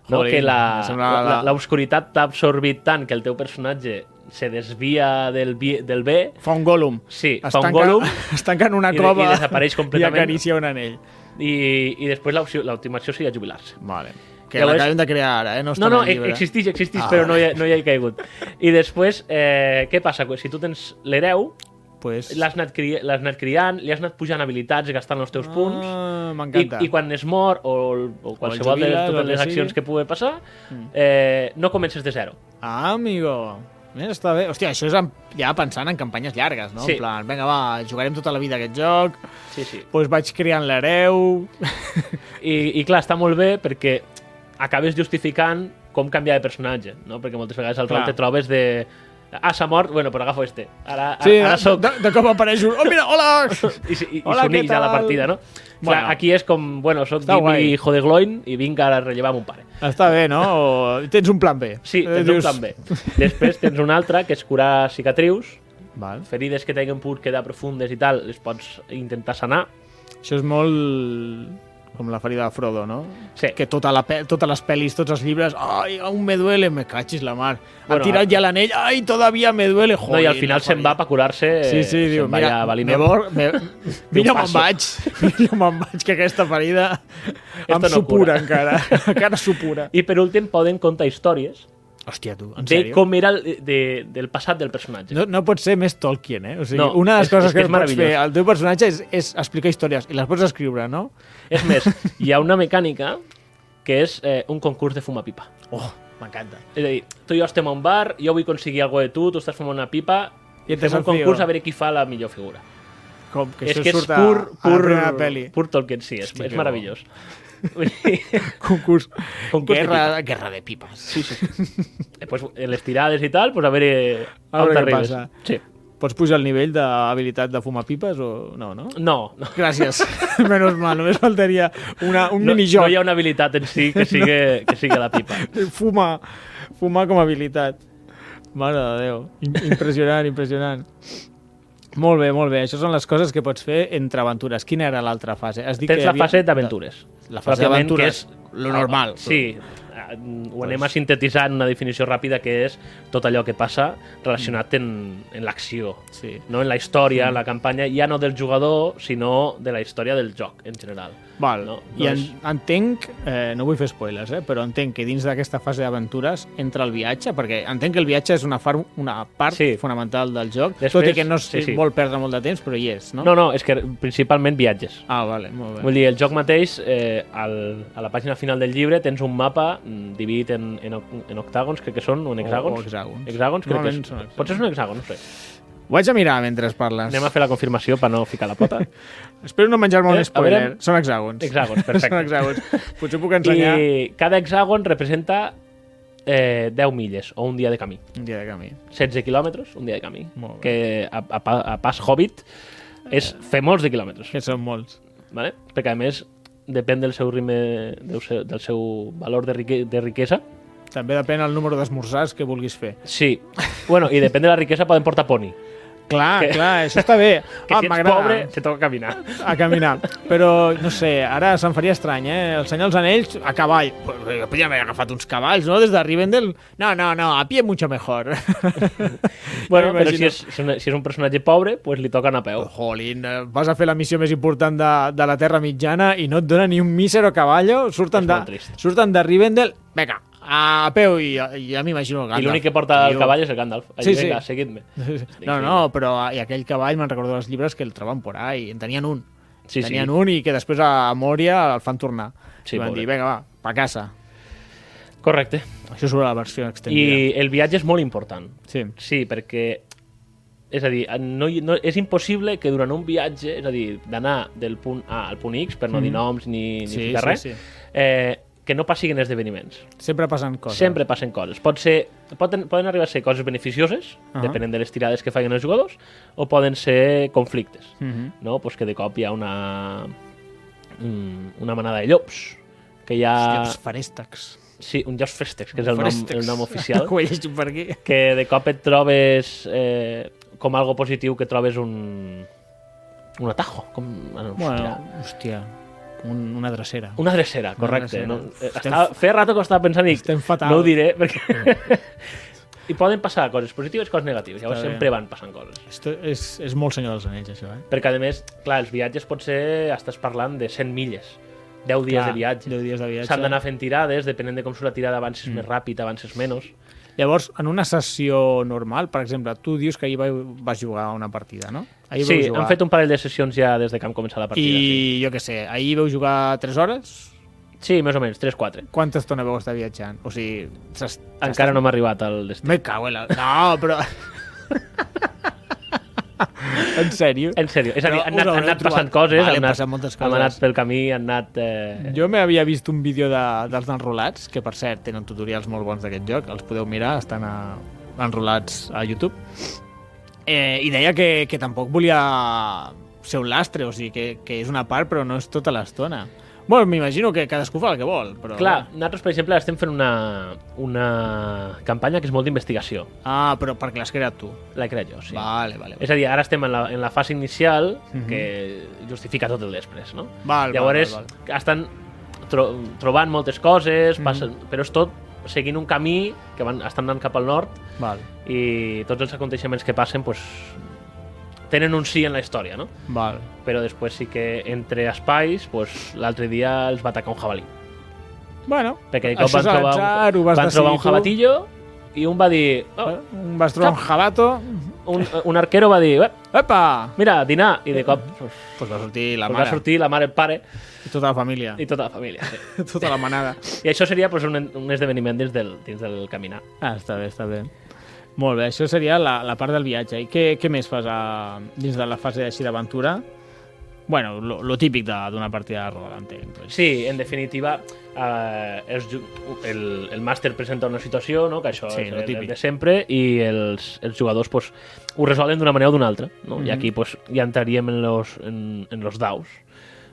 Speaker 2: no?
Speaker 1: Jolín,
Speaker 2: que
Speaker 1: em
Speaker 2: la-
Speaker 1: sembla
Speaker 2: la-
Speaker 1: la-
Speaker 2: l'obscuritat t'ha absorbit tant que el teu personatge se desvia del, bi, del bé,
Speaker 1: aquí. Fa un gòlum.
Speaker 2: sí,
Speaker 1: Es
Speaker 2: fa un
Speaker 1: tanca-
Speaker 2: gòlum
Speaker 1: Es tanca en una
Speaker 2: i de-
Speaker 1: cova
Speaker 2: i desapareix completament.
Speaker 1: I acaricia un anell.
Speaker 2: i, i després l'opció- l'última opció seria jubilar-se.
Speaker 1: Vale. Que
Speaker 2: Llavors-
Speaker 1: l'acabem de crear ara, eh? No, està
Speaker 2: No, no,
Speaker 1: en el
Speaker 2: e-
Speaker 1: llibre.
Speaker 2: existeix, existeix,
Speaker 1: Ah,
Speaker 2: però no hi,
Speaker 1: vale.
Speaker 2: ha, no hi he caigut. I després, eh, què passa? Si tu tens l'hereu,
Speaker 1: Pues...
Speaker 2: l'has anat, cri l'has anat criant, li has anat pujant habilitats, gastant els teus punts,
Speaker 1: Ah,
Speaker 2: i,
Speaker 1: M'encanta.
Speaker 2: i quan es mor o, el- o qualsevol
Speaker 1: jubiles,
Speaker 2: de
Speaker 1: o el
Speaker 2: totes
Speaker 1: que
Speaker 2: les
Speaker 1: sigui. Mm.
Speaker 2: accions que pugui passar, eh, no comences de zero.
Speaker 1: Ah, amigo. Mira, està bé. Hòstia, això és en- ja pensant en campanyes llargues, no?
Speaker 2: Sí.
Speaker 1: En plan, vinga, va, jugarem tota la vida a aquest joc,
Speaker 2: Sí, sí.
Speaker 1: doncs vaig creant l'hereu...
Speaker 2: I, I clar, està molt bé perquè acabes justificant com canviar de personatge, no? Perquè moltes vegades al rol
Speaker 1: Clar.
Speaker 2: te trobes de... Ah, s'ha mort, bueno, però agafo este. Ara, ara,
Speaker 1: Sí, ah,
Speaker 2: ara soc...
Speaker 1: de, de, cop apareix un... Oh, mira, hola!
Speaker 2: I, s- i, i
Speaker 1: Hola,
Speaker 2: s'unix
Speaker 1: què
Speaker 2: ja a la
Speaker 1: tal?
Speaker 2: partida, no? Bueno.
Speaker 1: Bueno.
Speaker 2: Clar, aquí és com, bueno, soc
Speaker 1: Està
Speaker 2: Gimli
Speaker 1: guai.
Speaker 2: hijo de Gloin i vinc ara a rellevar mon pare.
Speaker 1: Està bé, no? O... Tens un plan B.
Speaker 2: Sí,
Speaker 1: Eh,
Speaker 2: tens un plan B. Després tens un altre, que és curar cicatrius.
Speaker 1: Val.
Speaker 2: Ferides que t'hagin pogut quedar profundes i tal, les pots intentar sanar.
Speaker 1: Això és molt com la ferida de Frodo, no?
Speaker 2: Sí.
Speaker 1: Que tota la pe totes les pel·lis, tots els llibres, ai, aún me duele, me cachis la mar.
Speaker 2: Bueno,
Speaker 1: Bueno, Han tirat ja l'anell, ai, todavía me duele, joder.
Speaker 2: no, I al final
Speaker 1: la
Speaker 2: se'n
Speaker 1: ferida.
Speaker 2: va per curar-se...
Speaker 1: Sí, sí,
Speaker 2: se'n
Speaker 1: diu,
Speaker 2: va allà
Speaker 1: mira,
Speaker 2: a Valinor.
Speaker 1: me vor, me... mira me'n
Speaker 2: passo.
Speaker 1: vaig, mira me'n vaig, que aquesta ferida em
Speaker 2: no
Speaker 1: supura
Speaker 2: cura.
Speaker 1: encara, encara supura.
Speaker 2: I per últim poden contar històries
Speaker 1: Hòstia, tu, en
Speaker 2: de
Speaker 1: sèrio?
Speaker 2: com era el, de, del passat del personatge.
Speaker 1: No, no pot ser més Tolkien, eh? O sigui,
Speaker 2: No,
Speaker 1: una de les
Speaker 2: és- és
Speaker 1: coses
Speaker 2: que
Speaker 1: que,
Speaker 2: és
Speaker 1: no pots fer
Speaker 2: meravellós.
Speaker 1: al teu personatge és, és explicar històries i les pots escriure, no?
Speaker 2: És més, hi ha una mecànica que és eh, un concurs de fumar pipa.
Speaker 1: Oh, m'encanta.
Speaker 2: És a dir, tu i jo estem a un bar, jo vull aconseguir alguna de tu, tu estàs fumant una pipa,
Speaker 1: I et
Speaker 2: fem un
Speaker 1: desafio.
Speaker 2: concurs a veure qui fa la millor figura.
Speaker 1: Com que
Speaker 2: Que és
Speaker 1: això
Speaker 2: que és
Speaker 1: surt a,
Speaker 2: pur,
Speaker 1: a la
Speaker 2: pur,
Speaker 1: primera pel·li.
Speaker 2: pur Tolkien, sí, és,
Speaker 1: Hosti,
Speaker 2: és
Speaker 1: que
Speaker 2: meravellós. Vull dir,
Speaker 1: Concurs.
Speaker 2: Concurs de
Speaker 1: guerra, de guerra de pipes.
Speaker 2: sí, sí, sí. Després, eh, les tirades i tal, pues a veure...
Speaker 1: A veure
Speaker 2: on
Speaker 1: què
Speaker 2: t'arribes.
Speaker 1: passa.
Speaker 2: Sí.
Speaker 1: Pots pujar el nivell d'habilitat de fumar pipes o no, no?
Speaker 2: No, no.
Speaker 1: Gràcies. Menos mal, només faltaria una, un
Speaker 2: No,
Speaker 1: minijoc.
Speaker 2: no hi ha una habilitat en si que sigui, que sigui la pipa.
Speaker 1: Fumar. Fumar com a habilitat. Mare de Déu. Im- Impressionant, impressionant. Molt bé, molt bé. Això són les coses que pots fer entre aventures. Quina era l'altra fase? Has dit
Speaker 2: Tens
Speaker 1: que
Speaker 2: la fase d'aventures.
Speaker 1: La fase
Speaker 2: Pròpiament, que
Speaker 1: d'aventures, lo normal.
Speaker 2: Sí, ah, ho anem a sintetitzar en una definició ràpida que és tot allò que passa
Speaker 1: Mm.
Speaker 2: relacionat en, en l'acció.
Speaker 1: Sí.
Speaker 2: No en la
Speaker 1: Mm.
Speaker 2: història, en la campanya, ja no del jugador, sinó de la història del joc en general.
Speaker 1: Val, doncs. no,
Speaker 2: No, Doncs- no
Speaker 1: i en,
Speaker 2: és-
Speaker 1: entenc, eh, no vull fer spoilers, eh, però entenc que dins d'aquesta fase d'aventures entra el viatge, perquè entenc que el viatge és una, far, una part
Speaker 2: Sí.
Speaker 1: sí. fonamental del joc,
Speaker 2: Després-
Speaker 1: Després, tot i que no es sí,
Speaker 2: sí, sí.
Speaker 1: sí. vol perdre molt de temps, però hi és, no?
Speaker 2: No, no, és que principalment viatges.
Speaker 1: Ah, vale, molt bé.
Speaker 2: Vull dir, el joc mateix, eh, al, a la pàgina final del llibre, tens un mapa mm, dividit en, en, oc- en octàgons, crec que són, o en
Speaker 1: O-
Speaker 2: hexàgons.
Speaker 1: o hexàgons.
Speaker 2: Hexàgons, crec que
Speaker 1: Normalment
Speaker 2: és.
Speaker 1: són hexàgons.
Speaker 2: Potser és un hexàgon, no sé.
Speaker 1: Ho vaig a mirar mentre parles.
Speaker 2: Anem a fer la confirmació per no ficar la pota.
Speaker 1: Espero no menjar-me
Speaker 2: Eh, a
Speaker 1: un spoiler.
Speaker 2: veure-
Speaker 1: Són hexàgons.
Speaker 2: Hexàgons, perfecte.
Speaker 1: Són hexàgons. Potser puc ensenyar
Speaker 2: I cada hexàgon representa eh, 10 milles o un dia de camí.
Speaker 1: un dia de camí.
Speaker 2: 16 quilòmetres, un dia de camí.
Speaker 1: Molt bé. Eh.
Speaker 2: Que a, a, pa- a pas hobbit és fer molts de quilòmetres.
Speaker 1: Que són molts.
Speaker 2: Vale? Perquè, a més, depèn del seu ritme, del seu, del seu valor de, rique, de riquesa.
Speaker 1: També depèn el número d'esmorzars que vulguis fer.
Speaker 2: Sí. Bueno, i depèn de la riquesa poden portar poni.
Speaker 1: Clar,
Speaker 2: Que-
Speaker 1: clar, això està bé.
Speaker 2: Que si ets
Speaker 1: Ah, m'agrada.
Speaker 2: pobre, te toca caminar.
Speaker 1: a caminar. Però, no sé, ara se'm faria estrany, eh? El senyor dels anells, a cavall. Pues, eh, Podria haver agafat uns cavalls, no? Des de Rivendell. No, no, no, a pie mucho mejor.
Speaker 2: Bueno,
Speaker 1: M'imagino.
Speaker 2: però si és, si és un- si és un personatge pobre, pues li toca anar a peu.
Speaker 1: Jolín, eh, vas a fer la missió més important de, de la Terra Mitjana i no et dona ni un mísero cavallo. Surten,
Speaker 2: És
Speaker 1: de,
Speaker 2: molt trist.
Speaker 1: surten de Rivendell, vinga, a peu i ja m'imagino el
Speaker 2: I
Speaker 1: Gandalf.
Speaker 2: l'únic que porta el
Speaker 1: Tio.
Speaker 2: cavall és el Gandalf. Allí,
Speaker 1: Sí, sí.
Speaker 2: vinga, seguid-me.
Speaker 1: No, no, però i aquell cavall me'n recordo dels llibres que el troben por ahí, en tenien un.
Speaker 2: Sí, sí.
Speaker 1: tenien un i que després a Moria el fan tornar.
Speaker 2: Sí,
Speaker 1: I van
Speaker 2: pobre.
Speaker 1: dir, vinga, va, pa casa.
Speaker 2: Correcte.
Speaker 1: Això sobre la versió extendida.
Speaker 2: I el viatge és molt important.
Speaker 1: Sí.
Speaker 2: Sí, perquè... És a dir, no, hi- no, és impossible que durant un viatge, és a dir, d'anar del punt A al punt X, per no dir noms ni, ni
Speaker 1: Mm. Sí,
Speaker 2: ficar
Speaker 1: sí,
Speaker 2: res,
Speaker 1: sí.
Speaker 2: Eh, que no passin esdeveniments.
Speaker 1: Sempre passen coses.
Speaker 2: Sempre passen coses. Pot ser, poden, poden arribar a ser coses beneficioses, uh
Speaker 1: Ahà.
Speaker 2: -huh. depenent de les tirades que facin els jugadors, o poden ser conflictes. Uh
Speaker 1: Mhm.
Speaker 2: no? pues que mm, de cop hi ha una, mm, una manada de llops que hi ha...
Speaker 1: Els farèstecs.
Speaker 2: Sí, un Josh Festex, que és el nom, el nom oficial.
Speaker 1: Ho he llegit per aquí.
Speaker 2: que de cop et trobes eh, com algo positiu que trobes un un atajo, com bueno,
Speaker 1: Bueno,
Speaker 2: hòstia.
Speaker 1: hòstia, un, una drecera.
Speaker 2: una drecera, correcte.
Speaker 1: drecera.
Speaker 2: No, eh,
Speaker 1: Estem
Speaker 2: estava, feia rato que ho estava pensant i dic,
Speaker 1: Estem fatal.
Speaker 2: no ho diré perquè... I poden passar coses positives i coses negatives, llavors
Speaker 1: bé.
Speaker 2: sempre van passant coses.
Speaker 1: Esto és, és molt senyor dels anells, això, eh?
Speaker 2: Perquè, a més, clar, els viatges potser estàs parlant de 100 milles, 10 dies
Speaker 1: Clar,
Speaker 2: de viatge.
Speaker 1: 10 dies de viatge. Mm.
Speaker 2: S'han d'anar fent tirades, depenent de com surt la tirada, avances més ràpid, avances menys.
Speaker 1: Llavors, en una sessió normal, per exemple, tu dius que ahir va- vas jugar una partida, no? Ahir
Speaker 2: sí,
Speaker 1: vau jugar.
Speaker 2: han fet un parell de sessions ja des de que hem començat la partida. I...
Speaker 1: I jo què sé, ahir veu jugar 3 hores?
Speaker 2: Sí. sí, més o menys, 3-4.
Speaker 1: Quanta estona veu estar viatjant? O sigui, s'has-
Speaker 2: Encara no m'ha arribat al destí.
Speaker 1: Me cago en la... No, però... en sèrio?
Speaker 2: En sèrio, és a dir,
Speaker 1: Però
Speaker 2: han
Speaker 1: us
Speaker 2: anat,
Speaker 1: haureu
Speaker 2: han anat
Speaker 1: trobat-
Speaker 2: passant coses,
Speaker 1: Vale,
Speaker 2: han anat,
Speaker 1: passen moltes
Speaker 2: hem
Speaker 1: coses.
Speaker 2: anat pel camí, han anat... Eh...
Speaker 1: Jo m'havia vist un vídeo de, dels enrolats, que per cert tenen tutorials molt bons d'aquest joc, els podeu mirar, estan a, enrolats a YouTube. Eh, I deia que, que tampoc volia ser un lastre, o sigui, que, que és una part però no és tota l'estona. Bueno, m'imagino que cadascú fa el que vol, però...
Speaker 2: Clar, nosaltres, per exemple, estem fent una, una campanya que és molt d'investigació.
Speaker 1: Ah, però perquè l'has creat tu.
Speaker 2: La crec jo, sí.
Speaker 1: Sí. Vale, vale.
Speaker 2: És a dir, ara estem en la, en la fase inicial que justifica tot el després, no?
Speaker 1: Mhm. Val,
Speaker 2: Llavors,
Speaker 1: val, val, Mhm.
Speaker 2: estan tro trobant moltes coses, passen, però és tot seguint un camí que van, estan anant cap al nord
Speaker 1: Val,
Speaker 2: i tots els aconteixements que passen pues, tenen un sí en la història, no?
Speaker 1: val.
Speaker 2: però després sí que entre espais, pues, l'altre dia els va atacar un jabalí.
Speaker 1: Bueno,
Speaker 2: Perquè de cop
Speaker 1: això
Speaker 2: van
Speaker 1: és
Speaker 2: trobar,
Speaker 1: atzar, ho
Speaker 2: un,
Speaker 1: vas
Speaker 2: van trobar un
Speaker 1: decidir tu.
Speaker 2: jabatillo i un va dir... Oh,
Speaker 1: Eh, Vas trobar un jabato.
Speaker 2: un, un arquero va dir... "Eh,
Speaker 1: Epa!
Speaker 2: Mira, dinar! I de cop pues,
Speaker 1: Pues va sortir Eh, la
Speaker 2: va
Speaker 1: mare.
Speaker 2: sortir la mare, el pare
Speaker 1: I tota la família.
Speaker 2: i tota la família. sí.
Speaker 1: tota la manada.
Speaker 2: I això seria pues, un, un esdeveniment dins del, dins del caminar.
Speaker 1: Ah, està bé, està bé. Molt bé, això seria la, la part del viatge. I què, què més fas a, dins de la fase així d'aventura? Bueno, lo, lo típic de- d'una partida de roda, entenc. Pues.
Speaker 2: Sí, en definitiva, eh, els, ju- el, el màster presenta una situació, no? que això
Speaker 1: Sí,
Speaker 2: és
Speaker 1: lo
Speaker 2: el- el
Speaker 1: típic.
Speaker 2: de sempre, i els, els jugadors pues, ho resolen d'una manera o d'una altra. No?
Speaker 1: Mhm.
Speaker 2: I aquí pues, ja entraríem en los, en, en los daus,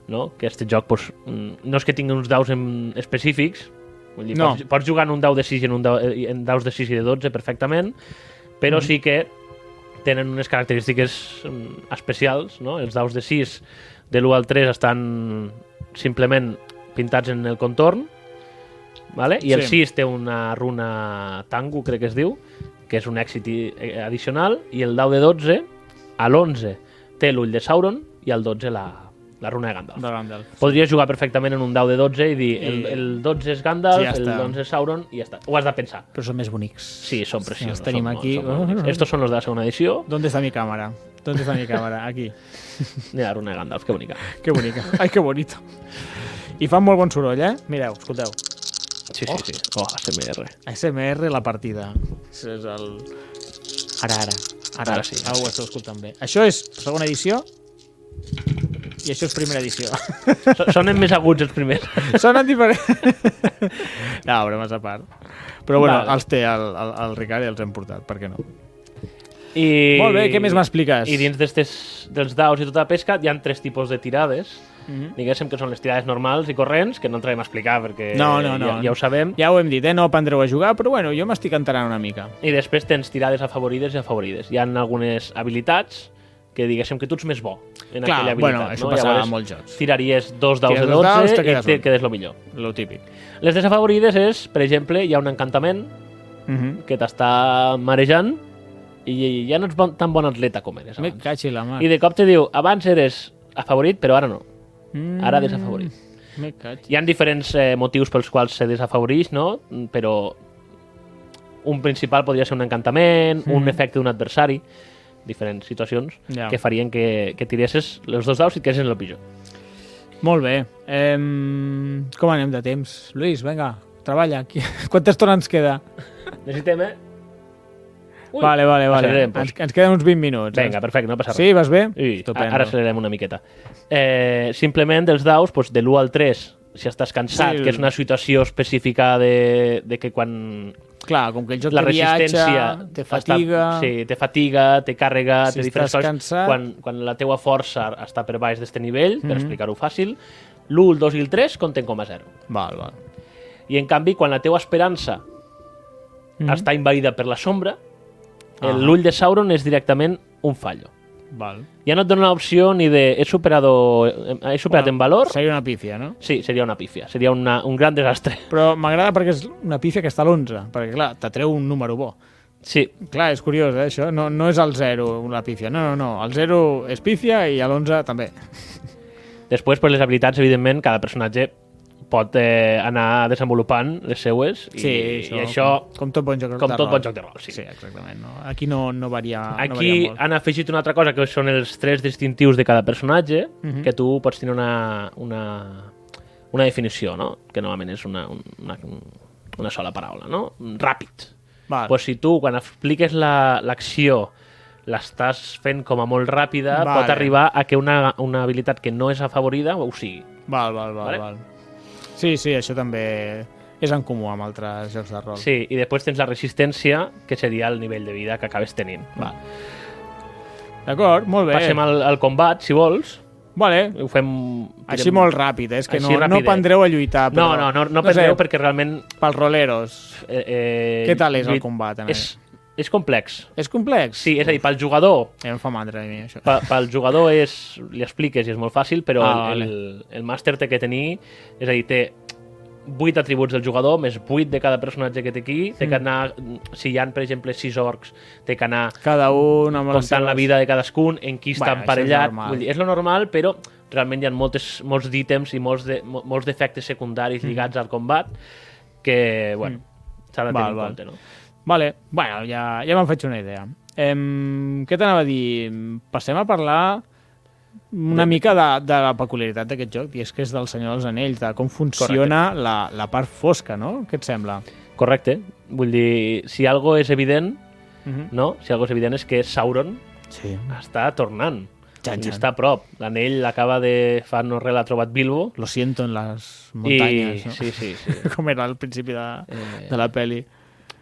Speaker 2: no? que este joc pues, mm, no és que tingui uns daus en, específics, Vull dir,
Speaker 1: No.
Speaker 2: pots, pots jugar en un dau de 6 i en, un dau, eh, en daus de 6 i de 12 perfectament,
Speaker 1: Mhm.
Speaker 2: però sí que tenen unes característiques mm, especials, no? Els daus de 6 de l'1 al 3 estan simplement pintats en el contorn, vale? i el
Speaker 1: Sí.
Speaker 2: 6 té una runa tango, crec que es diu, que és un èxit i- eh, addicional, i el dau de 12, a l'11 té l'ull de Sauron i al 12 la, la runa de Gandalf.
Speaker 1: De Gandalf.
Speaker 2: Podries jugar perfectament en un dau de 12 i dir el,
Speaker 1: I-
Speaker 2: el 12 és Gandalf,
Speaker 1: Sí, ja
Speaker 2: el
Speaker 1: està.
Speaker 2: 11 és Sauron i ja està. Ho has de pensar.
Speaker 1: Però són més bonics.
Speaker 2: Sí, són preciosos.
Speaker 1: Els tenim
Speaker 2: són,
Speaker 1: aquí.
Speaker 2: Són molt bonics. Estos són los de la segona edició.
Speaker 1: ¿Dónde está mi càmera? ¿Dónde está mi càmera? Aquí.
Speaker 2: Mira, la runa de Gandalf, que bonica.
Speaker 1: Que bonica. Ai, que bonito. I fan molt bon soroll, eh? Mireu, escolteu.
Speaker 2: Sí, sí, sí. Oh, ASMR.
Speaker 1: ASMR la partida. Això és el... Ara, ara. Ara,
Speaker 2: Ara sí.
Speaker 1: Ara ho esteu escoltant bé. Això és segona edició i això és primera edició.
Speaker 2: So- Sonen més aguts els primers.
Speaker 1: Sonen diferents. no, bromes a part. Però bueno,
Speaker 2: Vale.
Speaker 1: vale. els té el, el, el Ricard i els hem portat, per què no?
Speaker 2: I...
Speaker 1: Molt bé, què més m'expliques?
Speaker 2: I dins d'estes- dels daus i tota la pesca hi ha tres tipus de tirades.
Speaker 1: Mhm.
Speaker 2: Diguéssim que són les tirades normals i corrents, que no entrarem a explicar perquè
Speaker 1: No, no, no.
Speaker 2: Ja, ja ho sabem.
Speaker 1: Ja ho hem dit, eh? No aprendreu a jugar, però bueno, jo m'estic enterant una mica.
Speaker 2: I després tens tirades afavorides i afavorides. Hi ha algunes habilitats que diguéssim que tu ets més bo
Speaker 1: Clar,
Speaker 2: en aquella habilitat.
Speaker 1: bueno, això
Speaker 2: no?
Speaker 1: passava
Speaker 2: Llavors,
Speaker 1: a molts jocs.
Speaker 2: Tiraries dos daus
Speaker 1: Tires
Speaker 2: de
Speaker 1: dos
Speaker 2: 12
Speaker 1: daus, te
Speaker 2: i
Speaker 1: quedes
Speaker 2: et
Speaker 1: un.
Speaker 2: quedes el millor.
Speaker 1: Lo típic.
Speaker 2: Les desafavorides és, per exemple, hi ha un encantament
Speaker 1: Uh -huh.
Speaker 2: que t'està marejant i ja no ets bon, tan bon atleta com eres
Speaker 1: Me
Speaker 2: abans.
Speaker 1: cachi la mà.
Speaker 2: I de cop te diu, abans eres afavorit, però ara no.
Speaker 1: Mm,
Speaker 2: Ara desafavorit.
Speaker 1: Me cachi.
Speaker 2: Hi han diferents eh, motius pels quals se desafavorix, no? Però un principal podria ser un encantament, mm. un efecte d'un adversari, diferents situacions
Speaker 1: Ja.
Speaker 2: que farien que, que tiresses els dos daus i et quedessin el pitjor.
Speaker 1: Molt bé. Eh, com anem de temps? Luis, vinga, treballa. Qui- Quanta estona ens queda?
Speaker 2: Necessitem, eh? Ui,
Speaker 1: vale, vale, vale.
Speaker 2: Acelerem, doncs.
Speaker 1: Ens, ens queden uns 20 minuts.
Speaker 2: Vinga, perfecte, no passa res.
Speaker 1: Sí, vas bé?
Speaker 2: Ui,
Speaker 1: Estupendo.
Speaker 2: ara acelerem una miqueta. Eh, simplement dels daus, doncs, de l'1 al 3, si estàs cansat,
Speaker 1: Sí.
Speaker 2: que és una situació específica de, de que quan
Speaker 1: Clar, com que el joc
Speaker 2: la
Speaker 1: de
Speaker 2: resistència
Speaker 1: viatge, té
Speaker 2: està-
Speaker 1: fatiga...
Speaker 2: sí, té fatiga, té càrrega,
Speaker 1: Si
Speaker 2: té diferents
Speaker 1: estàs
Speaker 2: coses.
Speaker 1: cansat. Mhm.
Speaker 2: Quan, quan la teua força està per baix d'este nivell, per explicar-ho fàcil, l'1, el 2 i el 3 compten com a 0.
Speaker 1: Val, val.
Speaker 2: I en canvi, quan la teua esperança està invadida per la sombra,
Speaker 1: Mhm. Ah.
Speaker 2: el l'ull de Sauron és directament un fallo.
Speaker 1: Val.
Speaker 2: Ja no et dona l'opció ni de he superado, he superat en valor,
Speaker 1: Seria una pífia, no?
Speaker 2: sí, seria una pífia, seria una, un gran desastre.
Speaker 1: Però m'agrada perquè és una pífia que està a l'11, perquè, clar, t'atreu un número bo.
Speaker 2: Sí,
Speaker 1: Clar, és curiós, eh, això. No, no és el 0, la pífia. No, no, no. El 0 és pífia i l'11 també.
Speaker 2: Després, per les habilitats, evidentment, cada personatge pot eh, anar desenvolupant les seues i, i això,
Speaker 1: Com, com tot bon joc
Speaker 2: com
Speaker 1: de
Speaker 2: tot
Speaker 1: rol.
Speaker 2: bon joc de rol, sí.
Speaker 1: Sí, exactament. No? Aquí no, no varia, no
Speaker 2: Aquí
Speaker 1: varia molt.
Speaker 2: han afegit una altra cosa, que són els tres distintius de cada personatge,
Speaker 1: Mhm.
Speaker 2: que tu pots tenir una, una, una definició, no? que normalment és una, una, una sola paraula, no? ràpid.
Speaker 1: Val.
Speaker 2: Pues si tu, quan expliques la- l'acció, la, l'estàs fent com a molt ràpida,
Speaker 1: Vale.
Speaker 2: pot arribar a que una, una habilitat que no és afavorida ho sigui.
Speaker 1: Val, val, val, vale?
Speaker 2: Vale?
Speaker 1: val. Sí, sí, això també és en comú amb altres jocs de rol.
Speaker 2: Sí, i després tens la resistència, que seria el nivell de vida que acabes tenint.
Speaker 1: Va. D'acord, molt bé.
Speaker 2: Passem al, al combat, si vols.
Speaker 1: Vale,
Speaker 2: Ho fem...
Speaker 1: així molt ràpid, eh? és que
Speaker 2: Així
Speaker 1: no, no
Speaker 2: rapidet.
Speaker 1: prendreu a lluitar. Però,
Speaker 2: No, no, no, no perdeu
Speaker 1: sé,
Speaker 2: perquè realment...
Speaker 1: Pels roleros.
Speaker 2: Eh, eh,
Speaker 1: Què tal és el
Speaker 2: lluit-
Speaker 1: combat, en
Speaker 2: És, és complex.
Speaker 1: És complex?
Speaker 2: Sí, és a dir, pel jugador,
Speaker 1: Eh, em fa mandra a mi, això.
Speaker 2: pe- pel jugador és, li expliques i és molt fàcil, però
Speaker 1: Ah,
Speaker 2: el, el, el màster té que tenir... És a dir, té 8 atributs del jugador, més 8 de cada personatge que té aquí. Té
Speaker 1: Mm.
Speaker 2: que anar... Si hi ha, per exemple, 6 orcs, té que anar
Speaker 1: Cada un amb les
Speaker 2: comptant la
Speaker 1: seves-
Speaker 2: vida de cadascun, en qui està
Speaker 1: Doncs Bueno, això és
Speaker 2: bueno, emparellat.
Speaker 1: normal.
Speaker 2: Vull dir, és lo normal, però realment hi ha moltes, molts d'ítems i molts, de, mo- molts defectes
Speaker 1: Mm.
Speaker 2: secundaris lligats al combat que, bueno, s'ha de tenir
Speaker 1: Val,
Speaker 2: en
Speaker 1: val.
Speaker 2: compte, no?
Speaker 1: Vale, bueno, ja, ja m'han fet una idea. Em, què t'anava a dir? Passem a parlar una mica de, de la peculiaritat d'aquest joc, i és que és del Senyor dels Anells, de com funciona la, la part fosca, no? Què et sembla?
Speaker 2: Correcte. Vull dir, si algo és evident,
Speaker 1: Mhm.
Speaker 2: no? Si algo és evident és que Sauron
Speaker 1: Sí.
Speaker 2: està tornant.
Speaker 1: Xan,
Speaker 2: I
Speaker 1: xan.
Speaker 2: està a prop. L'anell acaba de... Fa no res l'ha trobat Bilbo.
Speaker 1: Lo siento en les
Speaker 2: I...
Speaker 1: muntanyes, no?
Speaker 2: Sí, sí, sí.
Speaker 1: Com era al principi de,
Speaker 2: Eh.
Speaker 1: de la peli.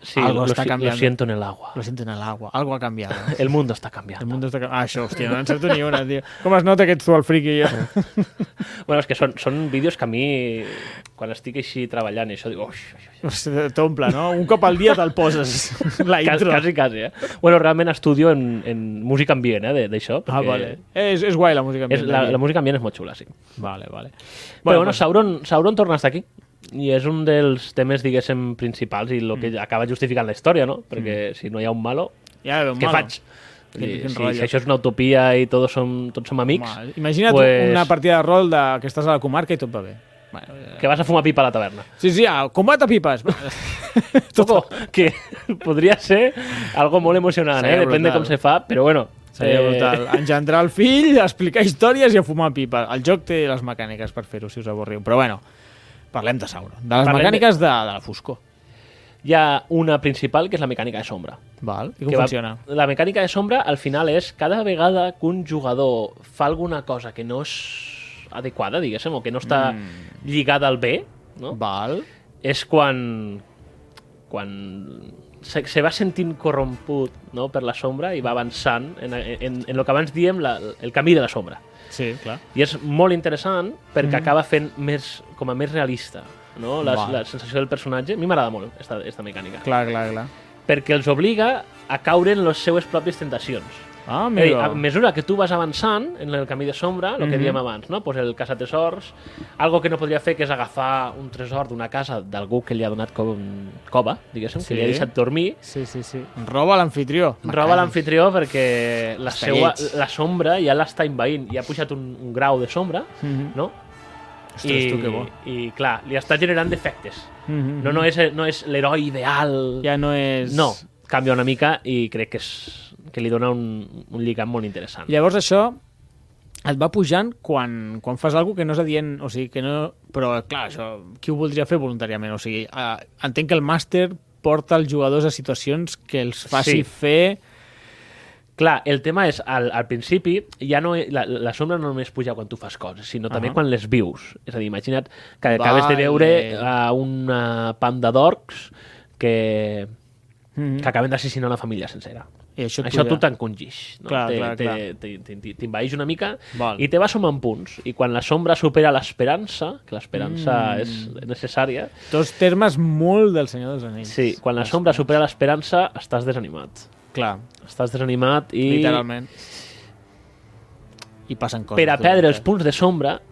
Speaker 2: sí
Speaker 1: Algo
Speaker 2: lo,
Speaker 1: está
Speaker 2: si- lo
Speaker 1: cambiando.
Speaker 2: siento en el agua.
Speaker 1: Lo siento en el agua. Algo ha cambiado.
Speaker 2: El mundo està
Speaker 1: El
Speaker 2: canviant.
Speaker 1: mundo está... Ah, això, hòstia, no encerto ni una, tio. Com es nota que ets tu el friki i jo?
Speaker 2: Eh. Bueno, és que són, són vídeos que a mi, quan estic així treballant i això, dic, oix, oix, oix.
Speaker 1: T'omple, no? Un cop al dia te'l poses, la
Speaker 2: Quasi,
Speaker 1: intro.
Speaker 2: quasi, quasi, eh? Bueno, realment estudio en, en música ambient, eh, de- d'això.
Speaker 1: Ah,
Speaker 2: perquè
Speaker 1: vale. És, és guai la música
Speaker 2: És,
Speaker 1: ambient.
Speaker 2: la,
Speaker 1: d'aquí.
Speaker 2: la música ambient és molt xula, sí.
Speaker 1: Vale, vale.
Speaker 2: Però, bueno, Sauron, Sauron torna a estar aquí. I és un dels temes, diguéssim, principals i el que
Speaker 1: Mm.
Speaker 2: acaba justificant la història, no? Perquè si no hi ha un malo,
Speaker 1: ja veu,
Speaker 2: què
Speaker 1: malo.
Speaker 2: faig?
Speaker 1: Quin-
Speaker 2: I,
Speaker 1: quin
Speaker 2: si,
Speaker 1: rotllo.
Speaker 2: si això és una utopia i tots som, tots som amics,
Speaker 1: Home, imagina't
Speaker 2: pues,
Speaker 1: una partida de rol de, que estàs a la comarca i tot va bé. Bueno, eh,
Speaker 2: que vas a fumar pipa a la taverna.
Speaker 1: sí, sí, ah, combat a pipes.
Speaker 2: Ojo, que podría ser algo muy emocionante,
Speaker 1: Seria
Speaker 2: ¿eh? depende
Speaker 1: brutal.
Speaker 2: cómo se fa, pero bueno.
Speaker 1: Seria
Speaker 2: eh,
Speaker 1: brutal. Engendrar el fill, explicar històries i a fumar pipa. El joc té les mecàniques per fer-ho, si us avorriu. Però bueno, parlem de Sauron. De les
Speaker 2: Parlem de-
Speaker 1: mecàniques de, de la foscor.
Speaker 2: Hi ha una principal, que és la mecànica de sombra.
Speaker 1: Val. I
Speaker 2: que
Speaker 1: com
Speaker 2: va-
Speaker 1: funciona?
Speaker 2: La mecànica de sombra, al final, és cada vegada que un jugador fa alguna cosa que no és adequada, diguéssim, o que no està
Speaker 1: Mm.
Speaker 2: lligada al bé, no?
Speaker 1: Val.
Speaker 2: és quan... quan se, se va sentint corromput no? per la sombra i va avançant en, en, en el que abans diem la, el camí de la sombra.
Speaker 1: Sí, clar.
Speaker 2: I és molt interessant perquè acaba fent més, com a més realista no? la,
Speaker 1: Val.
Speaker 2: la sensació del personatge. A mi m'agrada molt esta, esta mecànica.
Speaker 1: Clar, clar, clar.
Speaker 2: Perquè els obliga a caure en les seues pròpies tentacions.
Speaker 1: Ah,
Speaker 2: És a dir,
Speaker 1: mira.
Speaker 2: a mesura que tu vas avançant en el camí de sombra, el que
Speaker 1: Mhm.
Speaker 2: diem abans, no? pues el caçatresors, algo que no podria fer que és agafar un tresor d'una casa d'algú que li ha donat com cova, diguéssim,
Speaker 1: Sí.
Speaker 2: que li ha deixat dormir,
Speaker 1: Sí, sí, sí. Roba l'anfitrió.
Speaker 2: roba l'anfitrió perquè la,
Speaker 1: Està
Speaker 2: seua,
Speaker 1: lleig.
Speaker 2: la sombra ja l'està invaint, ja ha pujat un, un grau de sombra,
Speaker 1: Mhm.
Speaker 2: no?
Speaker 1: Ostres, tu, que bo.
Speaker 2: I clar, li està generant defectes.
Speaker 1: Mhm.
Speaker 2: No, no és, no és l'heroi ideal.
Speaker 1: Ja no és...
Speaker 2: No, canvia una mica i crec que, és, que li dona un, un lligam molt interessant.
Speaker 1: Llavors això et va pujant quan, quan fas alguna que no és adient, o sigui, que no... Però, clar, això, qui ho voldria fer voluntàriament? O sigui, eh, entenc que el màster porta els jugadors a situacions que els faci
Speaker 2: Sí.
Speaker 1: fer...
Speaker 2: Clar, el tema és, al, al principi, ja no, la, la sombra no només puja quan tu fas coses, sinó també
Speaker 1: Ahà.
Speaker 2: quan les vius. És a dir, imagina't que acabes de
Speaker 1: Vale.
Speaker 2: veure a una panda d'orcs que,
Speaker 1: Mm
Speaker 2: que acaben d'assassinar una família sencera.
Speaker 1: I això,
Speaker 2: Això tota- tu
Speaker 1: ja-
Speaker 2: t'encongix. No?
Speaker 1: Clar,
Speaker 2: Te-
Speaker 1: clar,
Speaker 2: te-
Speaker 1: clar.
Speaker 2: te- te- te- T'envaeix una mica
Speaker 1: Val.
Speaker 2: i te va sumant punts. I quan la sombra supera l'esperança, que
Speaker 1: Mm.
Speaker 2: l'esperança és necessària,
Speaker 1: Tots termes molt del Senyor dels Anells.
Speaker 2: sí, quan la sombra supera l'esperança, estàs desanimat.
Speaker 1: Clar,
Speaker 2: Estàs desanimat i...
Speaker 1: literalment. I passen coses. tota
Speaker 2: Per a
Speaker 1: tot
Speaker 2: perdre els
Speaker 1: el
Speaker 2: punts de sombra,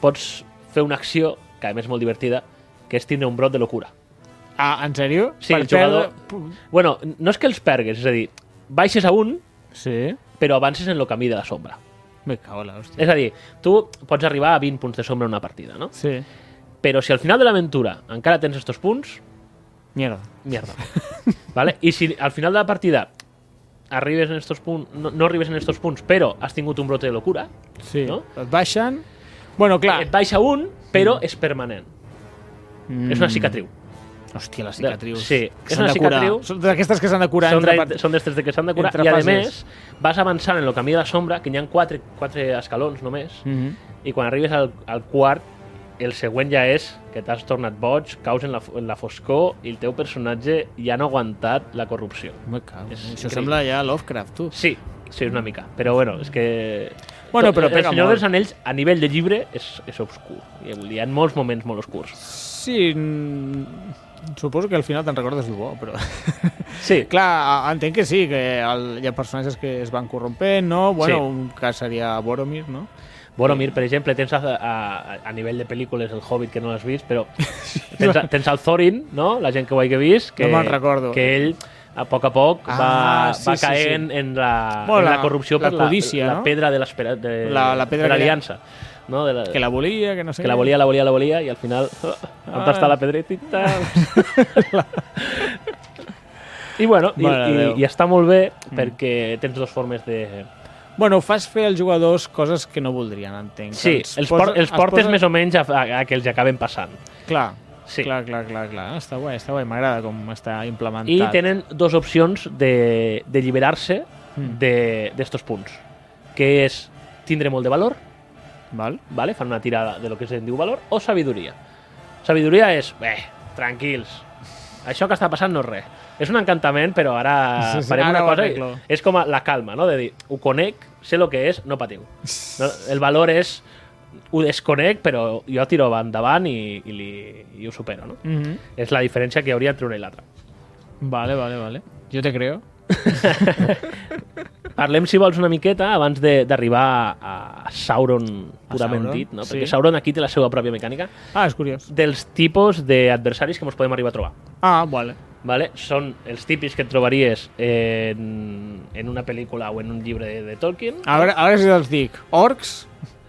Speaker 2: pots fer una acció, que a més és molt divertida, que és tindre un brot de locura.
Speaker 1: temps. Ah, en sèrio?
Speaker 2: Sí,
Speaker 1: per
Speaker 2: el jugador-
Speaker 1: Perdre...
Speaker 2: Bueno, no és que els pergues, és a dir, baixes a un,
Speaker 1: Sí.
Speaker 2: però avances en el camí de la sombra.
Speaker 1: Me cago en la hòstia.
Speaker 2: És a dir, tu pots arribar a 20 punts de sombra en una partida, no?
Speaker 1: Sí.
Speaker 2: Però si al final de l'aventura encara tens estos punts,
Speaker 1: Mierda.
Speaker 2: mierda. vale? I si al final de la partida arribes en estos punts, no, no arribes en estos punts, però has tingut un brote de locura,
Speaker 1: Sí.
Speaker 2: No?
Speaker 1: Et baixen... Bueno, clar.
Speaker 2: et baixa un, però és permanent.
Speaker 1: Mm.
Speaker 2: És una cicatriu.
Speaker 1: Hòstia, les cicatrius.
Speaker 2: Sí,
Speaker 1: que
Speaker 2: és
Speaker 1: s'han
Speaker 2: una
Speaker 1: de curar.
Speaker 2: cicatriu.
Speaker 1: Són d'aquestes que s'han de curar.
Speaker 2: Són,
Speaker 1: entre
Speaker 2: de,
Speaker 1: part-
Speaker 2: són d'estes de que s'han de curar.
Speaker 1: entre
Speaker 2: I a
Speaker 1: fases.
Speaker 2: més, vas avançant en el camí de la sombra, que n'hi ha quatre, quatre escalons només,
Speaker 1: Mhm.
Speaker 2: i quan arribes al, al quart, el següent ja és que t'has tornat boig, caus en la, fo- en la foscor i el teu personatge ja no ha aguantat la corrupció.
Speaker 1: Me cago.
Speaker 2: És
Speaker 1: Això
Speaker 2: increïble.
Speaker 1: sembla ja Lovecraft, tu.
Speaker 2: Sí, sí, és una mica. Però bueno, és que...
Speaker 1: Bueno,
Speaker 2: tot-
Speaker 1: però
Speaker 2: El
Speaker 1: pega
Speaker 2: Senyor
Speaker 1: molt.
Speaker 2: dels Anells, a nivell de llibre, és, és obscur. I vull dir, hi ha molts moments molt obscurs.
Speaker 1: Sí, mm, suposo que al final te'n recordes el bo, però...
Speaker 2: Sí,
Speaker 1: Clar, a- entenc que sí, que el, hi ha personatges que es van corrompent, no? Bueno,
Speaker 2: Sí.
Speaker 1: un cas seria Boromir, no?
Speaker 2: Boromir, per exemple, tens a, a, a nivell de pel·lícules El Hobbit, que no l'has vist, però tens, a- tens el Thorin, no? la gent que ho hagi vist, que,
Speaker 1: No me'n recordo.
Speaker 2: que ell a poc a poc
Speaker 1: Ah,
Speaker 2: va,
Speaker 1: sí,
Speaker 2: va
Speaker 1: sí,
Speaker 2: caent sí, En, la,
Speaker 1: Bueno,
Speaker 2: en la
Speaker 1: la-
Speaker 2: corrupció
Speaker 1: la
Speaker 2: per la,
Speaker 1: codícia,
Speaker 2: la
Speaker 1: no?
Speaker 2: pedra de l'espera de,
Speaker 1: La- la pedra
Speaker 2: de
Speaker 1: que-
Speaker 2: l'aliança. No? De la,
Speaker 1: Que la volia, que no sé
Speaker 2: que la
Speaker 1: què.
Speaker 2: volia, la volia, la volia, i al final... Oh,
Speaker 1: Ah.
Speaker 2: on està la pedretita? I bueno, i,
Speaker 1: Mare de
Speaker 2: i,
Speaker 1: Déu. Mm.
Speaker 2: i està molt bé perquè tens dues formes de,
Speaker 1: Bueno, fas fer als jugadors coses que no voldrien, entenc.
Speaker 2: Sí,
Speaker 1: Que
Speaker 2: els, por
Speaker 1: posa-
Speaker 2: els portes més o menys a, a, a que els acaben passant.
Speaker 1: Clar,
Speaker 2: Sí.
Speaker 1: clar, clar, clar, clar. Està guai, està guai. M'agrada com està
Speaker 2: I
Speaker 1: implementat.
Speaker 2: tenen dues opcions de, de lliberar-se
Speaker 1: Mm.
Speaker 2: de- d'estos punts, que és tindre molt de valor,
Speaker 1: Val?
Speaker 2: vale? fan una tirada de lo que se'n diu valor, o sabidoria. Sabidoria és, bé, tranquils, això que està passant no és res. És un encantament, però ara
Speaker 1: Sí, sí,
Speaker 2: farem
Speaker 1: ara ho
Speaker 2: una cosa...
Speaker 1: arreglo.
Speaker 2: i- És com a la calma, no? De dir, ho conec, sé el que és, no patiu. No? El valor és, ho desconec, però jo tiro endavant i, i, li, i ho supero, no?
Speaker 1: Mm -hmm.
Speaker 2: És la diferència que hi hauria entre una i l'altra.
Speaker 1: Vale, vale, vale. Jo te creo.
Speaker 2: Parlem, si vols, una miqueta abans de- d'arribar a Sauron, purament
Speaker 1: Sauron,
Speaker 2: dit, no?
Speaker 1: sí.
Speaker 2: perquè Sauron aquí té la seva pròpia mecànica,
Speaker 1: Ah, és curiós.
Speaker 2: dels tipus d'adversaris que ens podem arribar a trobar.
Speaker 1: Ah, vale.
Speaker 2: Vale? Són els típics que et trobaries en, en una pel·lícula o en un llibre de, de Tolkien. Eh,
Speaker 1: A veure, ara si els dic. Orcs,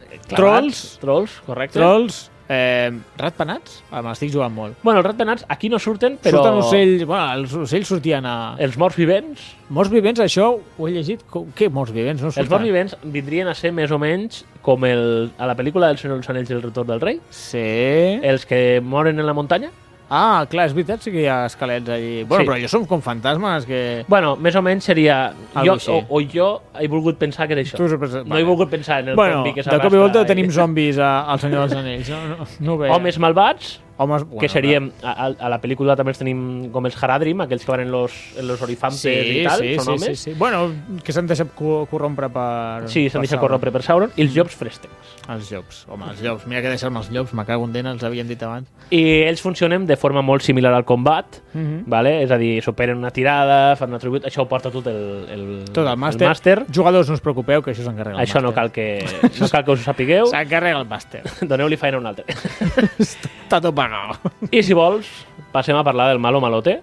Speaker 2: Clavats,
Speaker 1: Ah, trolls.
Speaker 2: Trolls, correcte.
Speaker 1: trolls, eh, ratpenats. Ah, M'estic jugant molt.
Speaker 2: Bueno, els ratpenats aquí no surten, però... Eh.
Speaker 1: Però... Surten ocells... Bueno, els ocells sortien a...
Speaker 2: Els morts vivents,
Speaker 1: Morts vivents, això ho he llegit... Com... Què morts vivents? No surten.
Speaker 2: els morts vivents vindrien a ser més o menys com el, a la pel·lícula del Senyor dels Anells i el retorn del rei,
Speaker 1: Sí.
Speaker 2: els que moren en la muntanya,
Speaker 1: Ah, clar, és veritat, sí que hi ha esquelets allí. Bueno,
Speaker 2: Sí.
Speaker 1: però jo som com fantasmes que...
Speaker 2: Bueno, més o menys seria...
Speaker 1: Algo
Speaker 2: Jo,
Speaker 1: així.
Speaker 2: o, o jo he volgut pensar que era això.
Speaker 1: Tu has pensat-
Speaker 2: No
Speaker 1: vale.
Speaker 2: he volgut pensar en el
Speaker 1: bueno,
Speaker 2: zombi que
Speaker 1: de
Speaker 2: s'abasta.
Speaker 1: cop i volta
Speaker 2: i-
Speaker 1: tenim zombis a- al Senyor dels Anells. No, no, no ho veia.
Speaker 2: Homes malvats,
Speaker 1: Homes
Speaker 2: bueno,
Speaker 1: bueno,
Speaker 2: que seríem... A, a, a la pel·lícula també els tenim com els Haradrim, aquells que van en los, en los orifantes
Speaker 1: Sí,
Speaker 2: i tal,
Speaker 1: sí, sí,
Speaker 2: són
Speaker 1: sí,
Speaker 2: homes.
Speaker 1: sí. Bueno, que s'han deixat co- corrompre per...
Speaker 2: Sí, s'han
Speaker 1: per
Speaker 2: deixat
Speaker 1: Sauron.
Speaker 2: corrompre per Sauron. I els llops frèstecs.
Speaker 1: Els llops, home, els llops. Mira que deixar-me els llops, me cago en dent, els havien dit abans.
Speaker 2: I ells funcionen de forma molt similar al combat,
Speaker 1: Mhm.
Speaker 2: vale? és a dir, superen una tirada, fan un atribut... Això ho porta tot el, el,
Speaker 1: Tot el màster. Jugadors, no us preocupeu, que això s'encarrega el
Speaker 2: Això no cal, que, no cal que us ho sapigueu.
Speaker 1: S'encarrega el màster.
Speaker 2: Doneu-li feina a un altre.
Speaker 1: Està tot pagado.
Speaker 2: I si vols, passem a parlar del malo malote,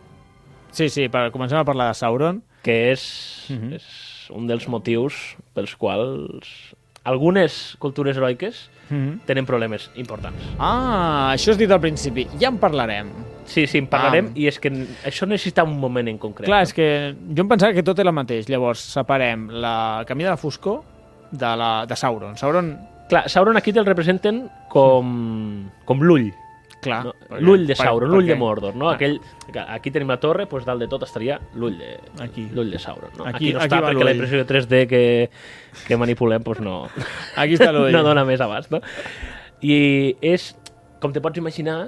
Speaker 1: Sí, sí, per, comencem a parlar de Sauron.
Speaker 2: que és,
Speaker 1: Mhm.
Speaker 2: és un dels motius pels quals algunes cultures heroiques
Speaker 1: Mhm.
Speaker 2: tenen problemes importants.
Speaker 1: Ah, això has dit al principi. Ja en parlarem.
Speaker 2: Sí, sí, en parlarem,
Speaker 1: Ah.
Speaker 2: i és que n- això necessita un moment en concret.
Speaker 1: Clar,
Speaker 2: no?
Speaker 1: és que jo em pensava que tot era el mateix. Llavors, separem la el Camí de la Foscor de, la, de Sauron. Sauron,
Speaker 2: clar, Sauron aquí te'l representen com, com l'ull.
Speaker 1: clar...
Speaker 2: No?
Speaker 1: perquè-
Speaker 2: L'ull de
Speaker 1: per-
Speaker 2: Sauron, l'ull de
Speaker 1: perquè-
Speaker 2: Mordor. No?
Speaker 1: Ah.
Speaker 2: Aquell, aquí tenim la torre, doncs dalt de tot estaria l'ull de,
Speaker 1: Aquí.
Speaker 2: l'ull de Sauron. No?
Speaker 1: Aquí-
Speaker 2: Aquí, no
Speaker 1: aquí
Speaker 2: està
Speaker 1: va
Speaker 2: perquè la
Speaker 1: l'ull.
Speaker 2: impressió 3D que, que manipulem doncs no,
Speaker 1: Aquí està l'ull.
Speaker 2: no dona més abast, no? I és, com te pots imaginar,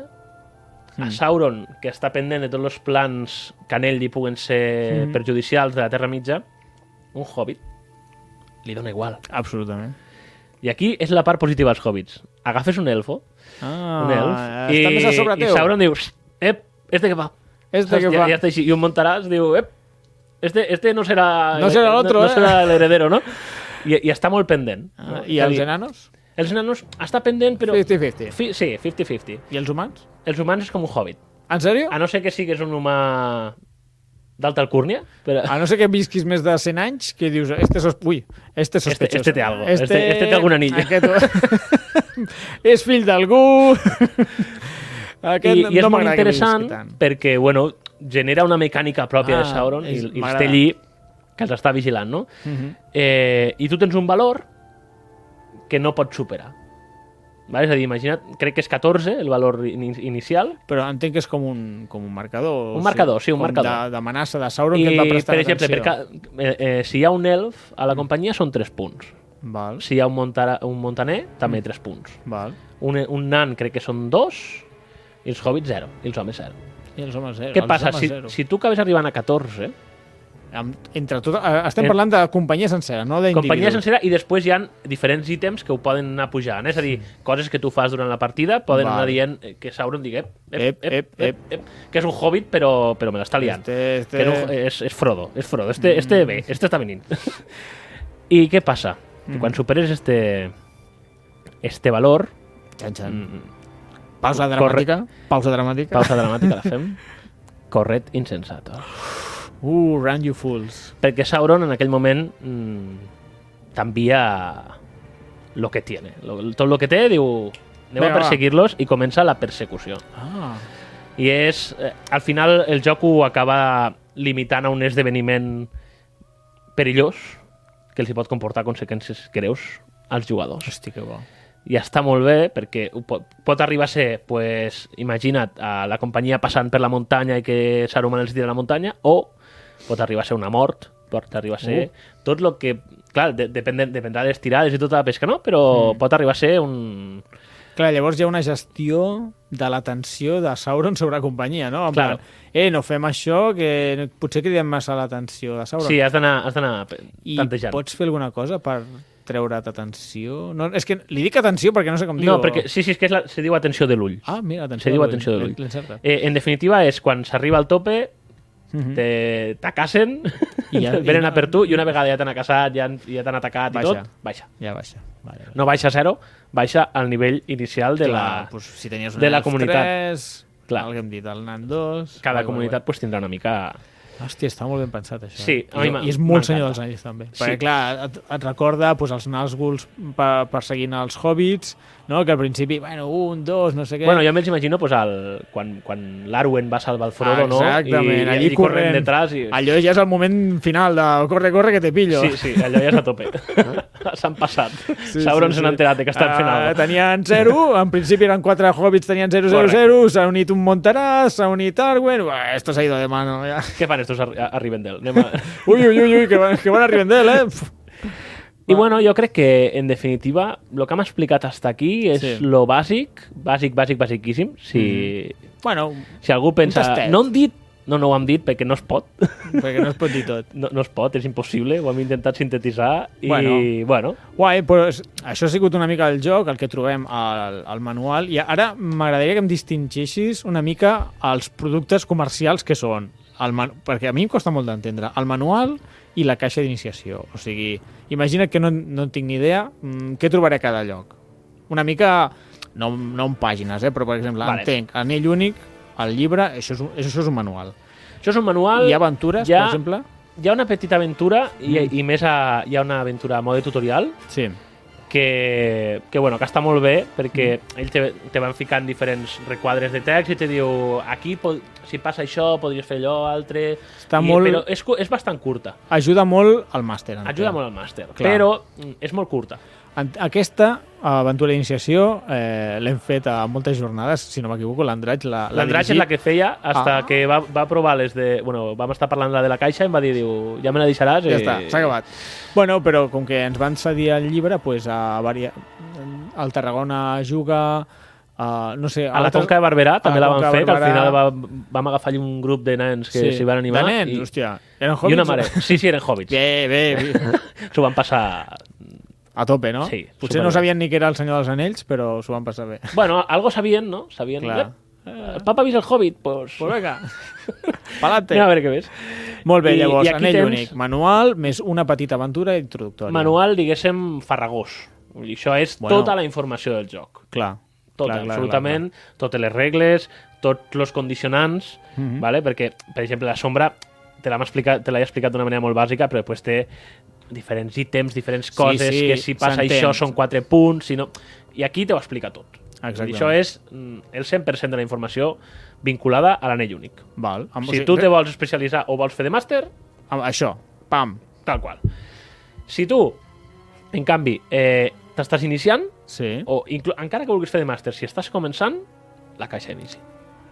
Speaker 1: Mm.
Speaker 2: a Sauron, que està pendent de tots els plans que en ell li puguen ser
Speaker 1: Mhm.
Speaker 2: perjudicials de la Terra Mitja, un hobbit li dona igual.
Speaker 1: Absolutament.
Speaker 2: I aquí és la part positiva dels hobbits. Agafes un elfo,
Speaker 1: Ah, eh,
Speaker 2: un elf,
Speaker 1: està més a sobre
Speaker 2: i, i
Speaker 1: teu.
Speaker 2: Sauron dius, ep, este que va.
Speaker 1: Este
Speaker 2: Saps?
Speaker 1: que
Speaker 2: ja,
Speaker 1: fa.
Speaker 2: Ja està així. I un Montaràs diu, ep, este, este no serà...
Speaker 1: No serà l'altre, eh?"
Speaker 2: no, no serà l'heredero, no? I, I està molt pendent.
Speaker 1: Ah,
Speaker 2: no?
Speaker 1: I
Speaker 2: És a
Speaker 1: els
Speaker 2: dir,
Speaker 1: enanos?
Speaker 2: Els nanos està pendent, però...
Speaker 1: 50-50.
Speaker 2: Fi, sí, 50-50.
Speaker 1: I els humans?
Speaker 2: Els humans Ah, és com un hobbit.
Speaker 1: En sèrio?
Speaker 2: A no ser que sigues un humà d'alta alcúrnia, però
Speaker 1: A no ser que visquis més de 100 anys, que dius, este, sos... Ui, este és sospechós.
Speaker 2: este té algo. Este- este té algun anillo.
Speaker 1: Aquest... és fill d'algú. Aquest
Speaker 2: I, i és
Speaker 1: no
Speaker 2: molt
Speaker 1: m'agrada que visqui
Speaker 2: interessant
Speaker 1: tant.
Speaker 2: perquè, bueno, genera una mecànica pròpia
Speaker 1: Ah,
Speaker 2: de Sauron i,
Speaker 1: és-
Speaker 2: i els
Speaker 1: m'agrada.
Speaker 2: té allí que els està vigilant, no?
Speaker 1: Mhm.
Speaker 2: eh, I tu tens un valor que no pots superar. Vale? És a dir, imagina't, crec que és 14 el valor in inicial,
Speaker 1: Però entenc que és com un, com un marcador.
Speaker 2: Un marcador, sí, un
Speaker 1: com
Speaker 2: marcador.
Speaker 1: de- D'amenaça de, Sauron
Speaker 2: i,
Speaker 1: que et va prestar
Speaker 2: per exemple, per
Speaker 1: atenció. Mm.
Speaker 2: ca... eh, eh, si hi ha un elf a la companyia són 3 punts.
Speaker 1: Val,
Speaker 2: Si hi ha un, montara, un montaner, també 3 punts.
Speaker 1: val.
Speaker 2: Un, un nan crec que són 2, i els hobbits 0, i els homes 0.
Speaker 1: I els homes zero.
Speaker 2: Què
Speaker 1: els
Speaker 2: passa?
Speaker 1: homes
Speaker 2: Si,
Speaker 1: zero.
Speaker 2: si tu acabes arribant a 14,
Speaker 1: Amb, entre tot, eh, estem
Speaker 2: En-
Speaker 1: parlant de companyia sencera, no d'individus.
Speaker 2: companyia sencera i després hi han diferents ítems que ho poden anar pujant. eh? És a dir, coses que tu fas durant la partida poden
Speaker 1: Val.
Speaker 2: anar dient eh, que Sauron digui ep,
Speaker 1: Ep,
Speaker 2: ep, ep,
Speaker 1: ep,
Speaker 2: ep, ep, ep, que és un hobbit però, però me l'està liant. Este, Mm.
Speaker 1: Este, eh, este...
Speaker 2: que no, és, és Frodo, és Frodo. Este, este bé, este està venint. I què passa? Que quan superes este, este valor,
Speaker 1: Xan, xan.
Speaker 2: mm,
Speaker 1: Pausa
Speaker 2: Corre-
Speaker 1: dramàtica. Pausa dramàtica.
Speaker 2: pausa dramàtica la fem, corret insensato.
Speaker 1: Uh, run you fools.
Speaker 2: Perquè Sauron en aquell moment mm, t'envia lo que tiene. Lo, tot lo que té, diu, anem
Speaker 1: Vinga,
Speaker 2: a perseguir-los i comença la persecució.
Speaker 1: Ah,
Speaker 2: I és... Eh, al final el joc ho acaba limitant a un esdeveniment perillós que els hi pot comportar conseqüències greus als jugadors
Speaker 1: hosti, que bo.
Speaker 2: i està molt bé perquè ho pot, pot arribar a ser, pues, imagina't, a la companyia passant per la muntanya i que Saruman els tira a la muntanya, o pot arribar a ser una mort, pot arribar a ser
Speaker 1: Uh.
Speaker 2: tot el que... Clar, de, dependent, dependrà de les tirades i tota la pesca, no? Però mm. pot arribar a ser un...
Speaker 1: Clar, llavors hi ha una gestió de l'atenció de Sauron sobre companyia, no? En
Speaker 2: Claro.
Speaker 1: plan, eh, no fem això, que potser cridem massa l'atenció de Sauron.
Speaker 2: Sí, has d'anar has d'anar pe-
Speaker 1: I
Speaker 2: tantejant.
Speaker 1: pots fer alguna cosa per treure't atenció? No, és que li dic atenció perquè no sé com
Speaker 2: No,
Speaker 1: dir-ho.
Speaker 2: perquè sí, sí, és que és la, se diu atenció de l'ull.
Speaker 1: Ah, mira, atenció
Speaker 2: se diu
Speaker 1: de l'ull.
Speaker 2: atenció de l'ull.
Speaker 1: L'he encertat.
Speaker 2: Eh, en definitiva, és quan s'arriba al tope,
Speaker 1: Mhm.
Speaker 2: te t'acacen,
Speaker 1: I ja- i
Speaker 2: venen
Speaker 1: no-
Speaker 2: a per tu, i una vegada ja t'han acassat, ja, han- ja t'han atacat
Speaker 1: Baixa.
Speaker 2: i tot, baixa.
Speaker 1: Ja baixa. Vale, vale.
Speaker 2: no baixa a zero, baixa al nivell inicial de la...
Speaker 1: Clar, doncs, si tenies un
Speaker 2: de la
Speaker 1: elf
Speaker 2: comunitat.
Speaker 1: 3,
Speaker 2: Clar.
Speaker 1: el que hem dit, el nan 2...
Speaker 2: Cada comunitat pues, tindrà una mica...
Speaker 1: Hòstia, està molt ben pensat, això.
Speaker 2: Sí,
Speaker 1: eh?
Speaker 2: a mi
Speaker 1: I,
Speaker 2: m'ha-
Speaker 1: I és molt
Speaker 2: m'encanta.
Speaker 1: senyor dels anells, també. Sí.
Speaker 2: Sí.
Speaker 1: Perquè, clar, et, et recorda pues, els Nazguls per, perseguint els hobbits, no? que al principi, bueno, un, dos, no sé què...
Speaker 2: Bueno, jo me'ls imagino pues, el... quan, quan l'Arwen va salvar el Frodo, no?
Speaker 1: Exactament,
Speaker 2: I,
Speaker 1: allí
Speaker 2: i corrent
Speaker 1: corrent.
Speaker 2: detrás i...
Speaker 1: Allò ja és el moment final de corre, corre, que te pillo.
Speaker 2: Sí, sí, allò ja és a tope. S'han passat. Sí, Sauron se n'ha enterat de que estan fent
Speaker 1: Ah,
Speaker 2: alguna cosa.
Speaker 1: Tenien 0, en principi eren 4 hobbits, tenien 0, 0,
Speaker 2: Correcte.
Speaker 1: 0, s'ha unit un Montaràs, s'ha unit Arwen, Uah, esto se ha ido de mano. Ja.
Speaker 2: Què fan estos a, a a Rivendell? Anem a...
Speaker 1: Ui, ui, ui, ui, que, van, que van a Rivendell, eh? Pf.
Speaker 2: I bueno, jo crec que, en definitiva, el que hem explicat hasta aquí és
Speaker 1: Sí.
Speaker 2: lo bàsic, bàsic, bàsic, bàsiquíssim. Si,
Speaker 1: Bueno,
Speaker 2: si algú pensa...
Speaker 1: Mm. tastet.
Speaker 2: No hem dit... No, no ho hem dit perquè no es pot.
Speaker 1: perquè no es pot dir tot.
Speaker 2: No, no es pot, és impossible, ho hem intentat sintetitzar i,
Speaker 1: Bueno.
Speaker 2: bueno, bueno
Speaker 1: Guai, però és- això ha sigut una mica el joc, el que trobem al, al manual, i ara m'agradaria que em distingeixis una mica els productes comercials que són, el man... perquè a mi em costa molt d'entendre, el manual i la caixa d'iniciació. O sigui, imagina't que no, no en tinc ni idea, mm, què trobaré a cada lloc? Una mica, no, no en pàgines, eh? però per exemple, vale.
Speaker 2: Vale.
Speaker 1: entenc, anell únic, el llibre, això és, un, això és un manual.
Speaker 2: això és un manual.
Speaker 1: Hi ha aventures,
Speaker 2: hi ha,
Speaker 1: per exemple? Mm.
Speaker 2: Hi ha una petita aventura i, i més a, hi ha una aventura a mode tutorial
Speaker 1: Sí.
Speaker 2: que, que, bueno, que està molt bé perquè mm. ells te, te van ficant diferents requadres de text i te diu aquí, po- si passa això, podries fer allò, altre...
Speaker 1: Està
Speaker 2: I,
Speaker 1: molt-
Speaker 2: Però és, cu- és bastant curta.
Speaker 1: Ajuda molt al màster. entenc.
Speaker 2: Ajuda molt al màster,
Speaker 1: Clar.
Speaker 2: però mm, és molt curta.
Speaker 1: En- Aquesta aventura d'iniciació eh, l'hem fet a moltes jornades, si no m'equivoco, l'Andratx la, la
Speaker 2: L'Andratx és la que feia hasta
Speaker 1: Ah.
Speaker 2: que va, va provar les de... Bueno, vam estar parlant la de la caixa i em va dir, diu, ja me la deixaràs.
Speaker 1: Ja
Speaker 2: i-
Speaker 1: està, s'ha acabat. Bueno, però com que ens van cedir el llibre, pues, a varia... el Tarragona juga, Uh, no sé,
Speaker 2: A la
Speaker 1: altres-
Speaker 2: Conca de Barberà també
Speaker 1: a la
Speaker 2: la van
Speaker 1: Conca de
Speaker 2: fer, que al
Speaker 1: Barberà.
Speaker 2: final va, vam agafar allí un grup de nens que s'hi van animar.
Speaker 1: De nens,
Speaker 2: i,
Speaker 1: hòstia. Eren
Speaker 2: I una
Speaker 1: hobbits?
Speaker 2: mare. Sí, sí, eren hobbits.
Speaker 1: Bé, bé, bé.
Speaker 2: S'ho van passar...
Speaker 1: A tope, no?
Speaker 2: Sí,
Speaker 1: Potser
Speaker 2: superbé.
Speaker 1: no sabien ni que era el Senyor dels Anells, però s'ho van passar bé.
Speaker 2: Bueno, algo sabien, no? Sabien...
Speaker 1: Clar.
Speaker 2: Eh, El papa ha vist el Hobbit, doncs...
Speaker 1: Pues
Speaker 2: Pues...
Speaker 1: vinga, pa'lante.
Speaker 2: Mira a veure què ves.
Speaker 1: Molt bé,
Speaker 2: I-
Speaker 1: llavors,
Speaker 2: i aquí
Speaker 1: anell
Speaker 2: tens-
Speaker 1: únic. Manual més una petita aventura introductòria.
Speaker 2: Manual, diguéssim, farragós. Vull dir, Això és
Speaker 1: Bueno.
Speaker 2: tota la informació del joc.
Speaker 1: Clar.
Speaker 2: Tot,
Speaker 1: clar, clar,
Speaker 2: absolutament, totes les regles, tots els condicionants,
Speaker 1: Mhm.
Speaker 2: vale? perquè, per exemple, la sombra te l'hem explicat- te l'he explicat d'una manera molt bàsica, però després té diferents ítems, diferents coses,
Speaker 1: sí,
Speaker 2: que si passa
Speaker 1: s'entén.
Speaker 2: això són quatre punts, si no... I aquí te ho explica tot.
Speaker 1: Exactament.
Speaker 2: I això és mm, el 100% de la informació vinculada a l'anell únic.
Speaker 1: Clar. Val. Amb,
Speaker 2: Si tu te vols especialitzar o vols fer de màster,
Speaker 1: Amb, això, pam.
Speaker 2: tal qual. Si tu, en canvi, eh, t'estàs iniciant,
Speaker 1: Sí.
Speaker 2: o inclu- encara que vulguis fer de màster, si estàs començant, la caixa d'inici.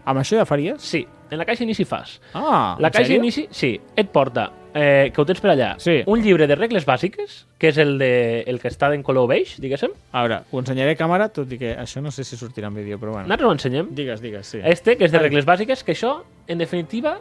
Speaker 1: Amb això ja faries?
Speaker 2: Sí, en la caixa d'inici fas.
Speaker 1: Ah,
Speaker 2: La
Speaker 1: en
Speaker 2: caixa
Speaker 1: sèrio?
Speaker 2: d'inici, sí, et porta, eh, que ho tens per allà,
Speaker 1: Sí.
Speaker 2: un llibre de regles bàsiques, que és el, de, el que està en color beige, diguéssim.
Speaker 1: A veure, ho ensenyaré a càmera, tot i que això no sé si sortirà en vídeo, però bueno.
Speaker 2: Nosaltres ho ensenyem.
Speaker 1: Digues, digues, Ah. sí.
Speaker 2: Este, que és de
Speaker 1: Ah.
Speaker 2: regles bàsiques, que això, en definitiva,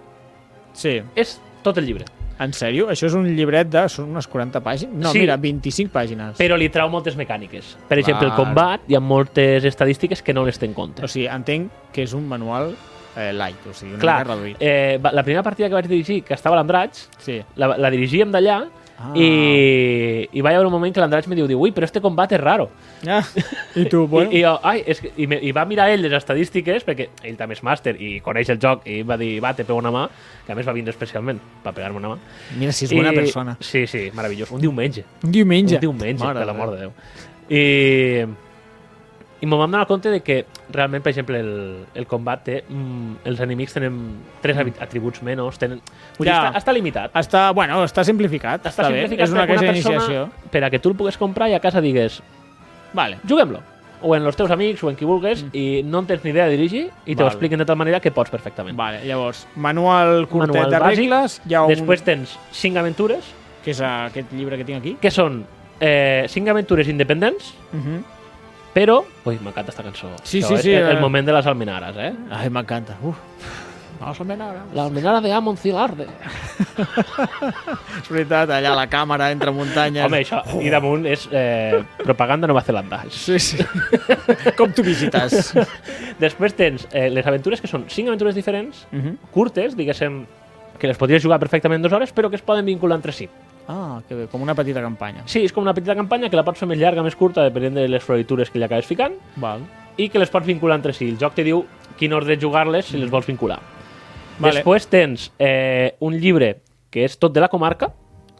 Speaker 1: Sí.
Speaker 2: és tot el llibre.
Speaker 1: En sèrio? Això és un llibret de... Són unes 40 pàgines? No,
Speaker 2: Sí.
Speaker 1: mira, 25 pàgines.
Speaker 2: Però li trau moltes mecàniques. Per exemple, el
Speaker 1: Clar.
Speaker 2: combat, hi ha moltes estadístiques que no les té en compte.
Speaker 1: O sigui, entenc que és un manual eh, light, o sigui, una
Speaker 2: Clar,
Speaker 1: mica reduït.
Speaker 2: eh, va- la primera partida que vaig dirigir, que estava a l'Andratx,
Speaker 1: Sí.
Speaker 2: la, la dirigíem d'allà
Speaker 1: Ah.
Speaker 2: i, i va haver un moment que l'Andratx me diu, diu, ui, però este combat és raro.
Speaker 1: Ah, I tu, bueno...
Speaker 2: I, i, jo, Ai, és que, i, me, I va mirar ell les estadístiques, perquè ell també és màster i coneix el joc, i va dir, va, te pego una mà, que a més va vindre especialment, va pegar-me una mà.
Speaker 1: Mira si és bona
Speaker 2: I-
Speaker 1: persona.
Speaker 2: Sí, sí, meravellós. Un diumenge.
Speaker 1: Un diumenge.
Speaker 2: Un diumenge,
Speaker 1: Mare
Speaker 2: per l'amor de Déu. I, i m'ho vam donar compte de que realment, per exemple, el, el combat té... Mm, els enemics tenen tres habi- atributs menys, tenen... Vull
Speaker 1: Mm.
Speaker 2: dir,
Speaker 1: Ja.
Speaker 2: està, està limitat.
Speaker 1: Està, bueno, està simplificat.
Speaker 2: Està,
Speaker 1: bé.
Speaker 2: simplificat
Speaker 1: És una
Speaker 2: perquè
Speaker 1: caixa
Speaker 2: alguna persona,
Speaker 1: d'iniciació.
Speaker 2: Per a que tu el pugues comprar i a casa digues,
Speaker 1: Vale.
Speaker 2: juguem-lo. O en els teus amics o en qui vulgues mm. i no en tens ni idea de dirigir i te
Speaker 1: Val.
Speaker 2: ho expliquen de tal manera que pots perfectament.
Speaker 1: Vale, llavors, manual curtet
Speaker 2: Manual
Speaker 1: de
Speaker 2: bàsic,
Speaker 1: regles, hi ha un...
Speaker 2: Després tens cinc aventures,
Speaker 1: Que és aquest llibre que tinc aquí.
Speaker 2: que són eh, cinc aventures independents,
Speaker 1: Uh -huh.
Speaker 2: però... Ui, m'encanta aquesta cançó.
Speaker 1: Sí,
Speaker 2: Això
Speaker 1: sí,
Speaker 2: és
Speaker 1: sí,
Speaker 2: El,
Speaker 1: eh.
Speaker 2: el moment de les almenares, eh?
Speaker 1: Ai, m'encanta. Uf. Vamos a menar.
Speaker 2: La almenara de Amon Zilarde.
Speaker 1: És veritat, allà a la càmera, entre muntanyes.
Speaker 2: Home, això, i damunt és eh, propaganda Nova Zelanda.
Speaker 1: Sí, sí. Com tu visites?
Speaker 2: Després tens eh, les aventures, que són cinc aventures diferents,
Speaker 1: uh -huh.
Speaker 2: curtes, diguéssim, que les podries jugar perfectament dues hores, però que es poden vincular entre si.
Speaker 1: Ah, que bé, com una petita campanya.
Speaker 2: Sí, és com una petita campanya que la pots fer més llarga, més curta, depenent de les floritures que li acabes ficant,
Speaker 1: Val.
Speaker 2: i que les pots vincular entre si. El joc te diu quin ordre jugar-les si les vols vincular.
Speaker 1: Mm. Vale.
Speaker 2: Després tens eh, un llibre que és tot de la comarca.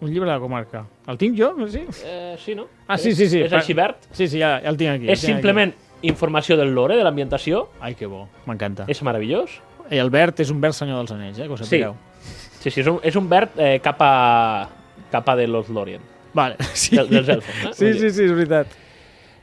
Speaker 1: Un llibre de la comarca. El tinc jo? Sí.
Speaker 2: Eh, sí, no?
Speaker 1: Ah, sí, sí, sí.
Speaker 2: És així verd.
Speaker 1: Sí, sí, ja, ja el tinc aquí. el
Speaker 2: És
Speaker 1: tinc aquí.
Speaker 2: simplement informació del lore, de l'ambientació.
Speaker 1: Ai, que bo. M'encanta.
Speaker 2: És meravellós.
Speaker 1: I el verd és un verd senyor dels anells, eh, que ho sapigueu.
Speaker 2: Sí, sí, és un, és un verd eh, cap a, cap a de los Lorien.
Speaker 1: Vale, sí.
Speaker 2: Del- dels elfos, eh?
Speaker 1: Sí,
Speaker 2: Vull
Speaker 1: sí,
Speaker 2: dir.
Speaker 1: sí, és veritat.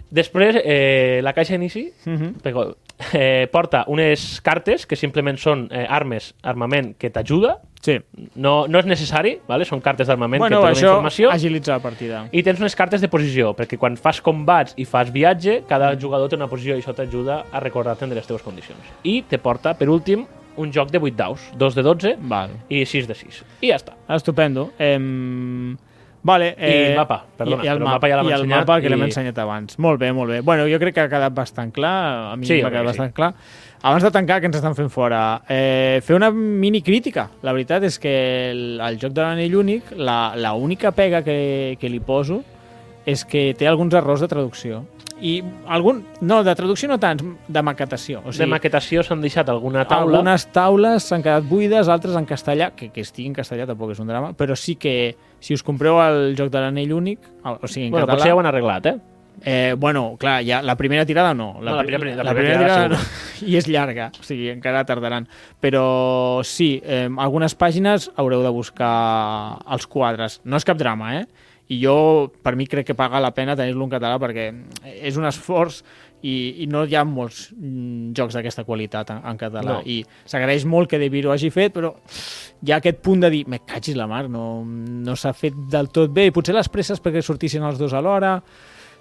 Speaker 2: Després, eh, la caixa d'inici
Speaker 1: Mhm.
Speaker 2: Perdó. eh, porta unes cartes que simplement són eh, armes, armament que t'ajuda,
Speaker 1: Sí.
Speaker 2: no, no és necessari, vale? són cartes d'armament
Speaker 1: Bueno,
Speaker 2: que et donen
Speaker 1: això
Speaker 2: informació,
Speaker 1: agilitza la partida.
Speaker 2: i tens unes cartes de posició, perquè quan fas combats i fas viatge, cada
Speaker 1: Mm.
Speaker 2: jugador té una posició i això t'ajuda a recordar-te'n de les teves condicions. I te porta, per últim, un joc de 8 daus, 2 de 12
Speaker 1: Val.
Speaker 2: i 6 de 6. I ja està.
Speaker 1: Estupendo. Em... Vale, eh,
Speaker 2: el mapa, perdona,
Speaker 1: i el,
Speaker 2: però el mapa ja l'hem
Speaker 1: i el
Speaker 2: ensenyat
Speaker 1: mapa que
Speaker 2: i-
Speaker 1: l'hem ensenyat abans. Molt bé, molt bé. Bueno, jo crec que ha quedat bastant clar, a mi
Speaker 2: Sí,
Speaker 1: m'ha
Speaker 2: jo crec
Speaker 1: quedat
Speaker 2: que
Speaker 1: bastant clar. Abans de tancar, que ens estan fent fora, eh, fer una mini crítica. La veritat és que el, el joc de l'anell únic, la, la única pega que, que li poso és que té alguns errors de traducció. I algun... No, de traducció no tants, de maquetació. O
Speaker 2: Sí. De
Speaker 1: sigui,
Speaker 2: maquetació s'han deixat alguna taula.
Speaker 1: algunes taules s'han quedat buides, altres en castellà, que, que estigui en castellà tampoc és un drama, però sí que si us compreu el joc de l'anell únic, o o sigui, en
Speaker 2: Bueno,
Speaker 1: català...
Speaker 2: potser ja ho han arreglat, eh?
Speaker 1: eh, bueno, clar, ja, la primera tirada no.
Speaker 2: No, la
Speaker 1: pri-
Speaker 2: primera- la
Speaker 1: la
Speaker 2: primera
Speaker 1: primera tirada
Speaker 2: tirada
Speaker 1: no. I és llarga, o sigui, encara tardaran. Però sí, eh, algunes pàgines haureu de buscar els quadres. No és cap drama, eh? I jo, per mi, crec que paga la pena tenir-lo en català perquè eh, és un esforç i, i no hi ha molts mm, jocs d'aquesta qualitat en, en català.
Speaker 2: No.
Speaker 1: I s'agraeix molt que De Viro hagi fet, però hi ha aquest punt de dir, me cagis la mar, no, no s'ha fet del tot bé. I potser les presses perquè sortissin els dos alhora...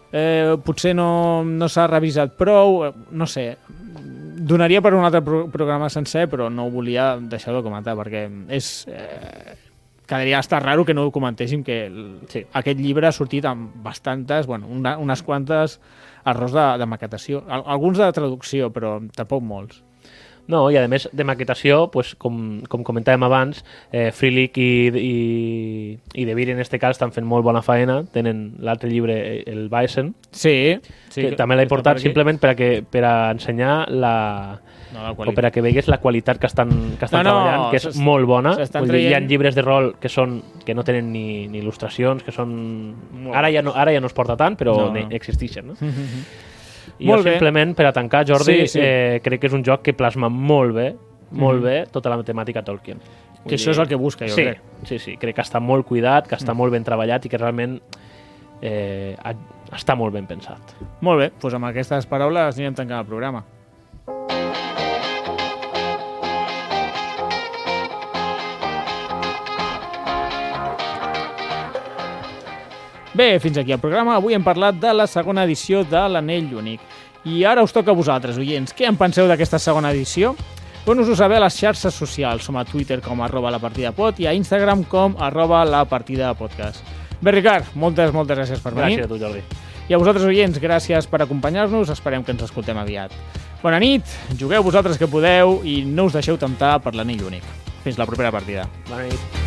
Speaker 1: eh, potser no, no s'ha revisat prou, eh, no sé. Donaria per un altre pro programa sencer, però no ho volia deixar de comentar, perquè és... Eh, quedaria estar raro que no ho comentéssim, que el, sí.
Speaker 2: Sí.
Speaker 1: aquest llibre ha sortit amb bastantes, bueno, una, unes quantes errors de, de maquetació. Al, alguns de traducció, però tampoc molts.
Speaker 2: No, i a més de maquetació, pues, com, com comentàvem abans, eh, Freelick i, i, i De Beer en este cas estan fent molt bona faena, tenen l'altre llibre, eh, el Bison,
Speaker 1: Sí, sí
Speaker 2: sí, que, també l'he
Speaker 1: està per
Speaker 2: portat
Speaker 1: aquí.
Speaker 2: simplement per a, que, per a ensenyar la,
Speaker 1: No, la
Speaker 2: o per a que veguis la qualitat que estan, que estan
Speaker 1: No, no,
Speaker 2: treballant, que és
Speaker 1: s'est-
Speaker 2: molt bona.
Speaker 1: s'estan
Speaker 2: Vull dir, hi ha
Speaker 1: traient-
Speaker 2: llibres de rol que, són, que no tenen ni, ni il·lustracions, que són...
Speaker 1: Molt
Speaker 2: Ara ja, no, ara ja no es porta tant, però
Speaker 1: No, no.
Speaker 2: no, existeixen. No?
Speaker 1: Mhm.
Speaker 2: I
Speaker 1: Molt
Speaker 2: jo
Speaker 1: bé.
Speaker 2: simplement, per a tancar, Jordi,
Speaker 1: Sí, sí.
Speaker 2: Eh, crec que és un joc que plasma molt bé, molt bé, tota la temàtica Tolkien.
Speaker 1: Que això és el que busca, jo
Speaker 2: sí,
Speaker 1: crec. Mhm.
Speaker 2: Sí, sí, crec que està molt cuidat, que està molt ben treballat i que realment eh, ha- està molt ben pensat.
Speaker 1: Molt bé, doncs amb aquestes paraules anirem tancant el programa. Bé, fins aquí el programa. Avui hem parlat de la segona edició de l'Anell Únic. I ara us toca a vosaltres, oients. Què en penseu d'aquesta segona edició? Doncs Dones-ho saber a les xarxes socials. Som a Twitter com arroba la partida pot i a Instagram com arroba la partida podcast. Bé, Ricard, moltes, moltes gràcies per venir.
Speaker 2: Gràcies a tu, Jordi.
Speaker 1: I a vosaltres, oients, gràcies per acompanyar-nos. Esperem que ens escoltem aviat. Bona nit, jugueu vosaltres que podeu i no us deixeu temptar per l'anell únic. Fins la propera partida.
Speaker 2: Bona nit.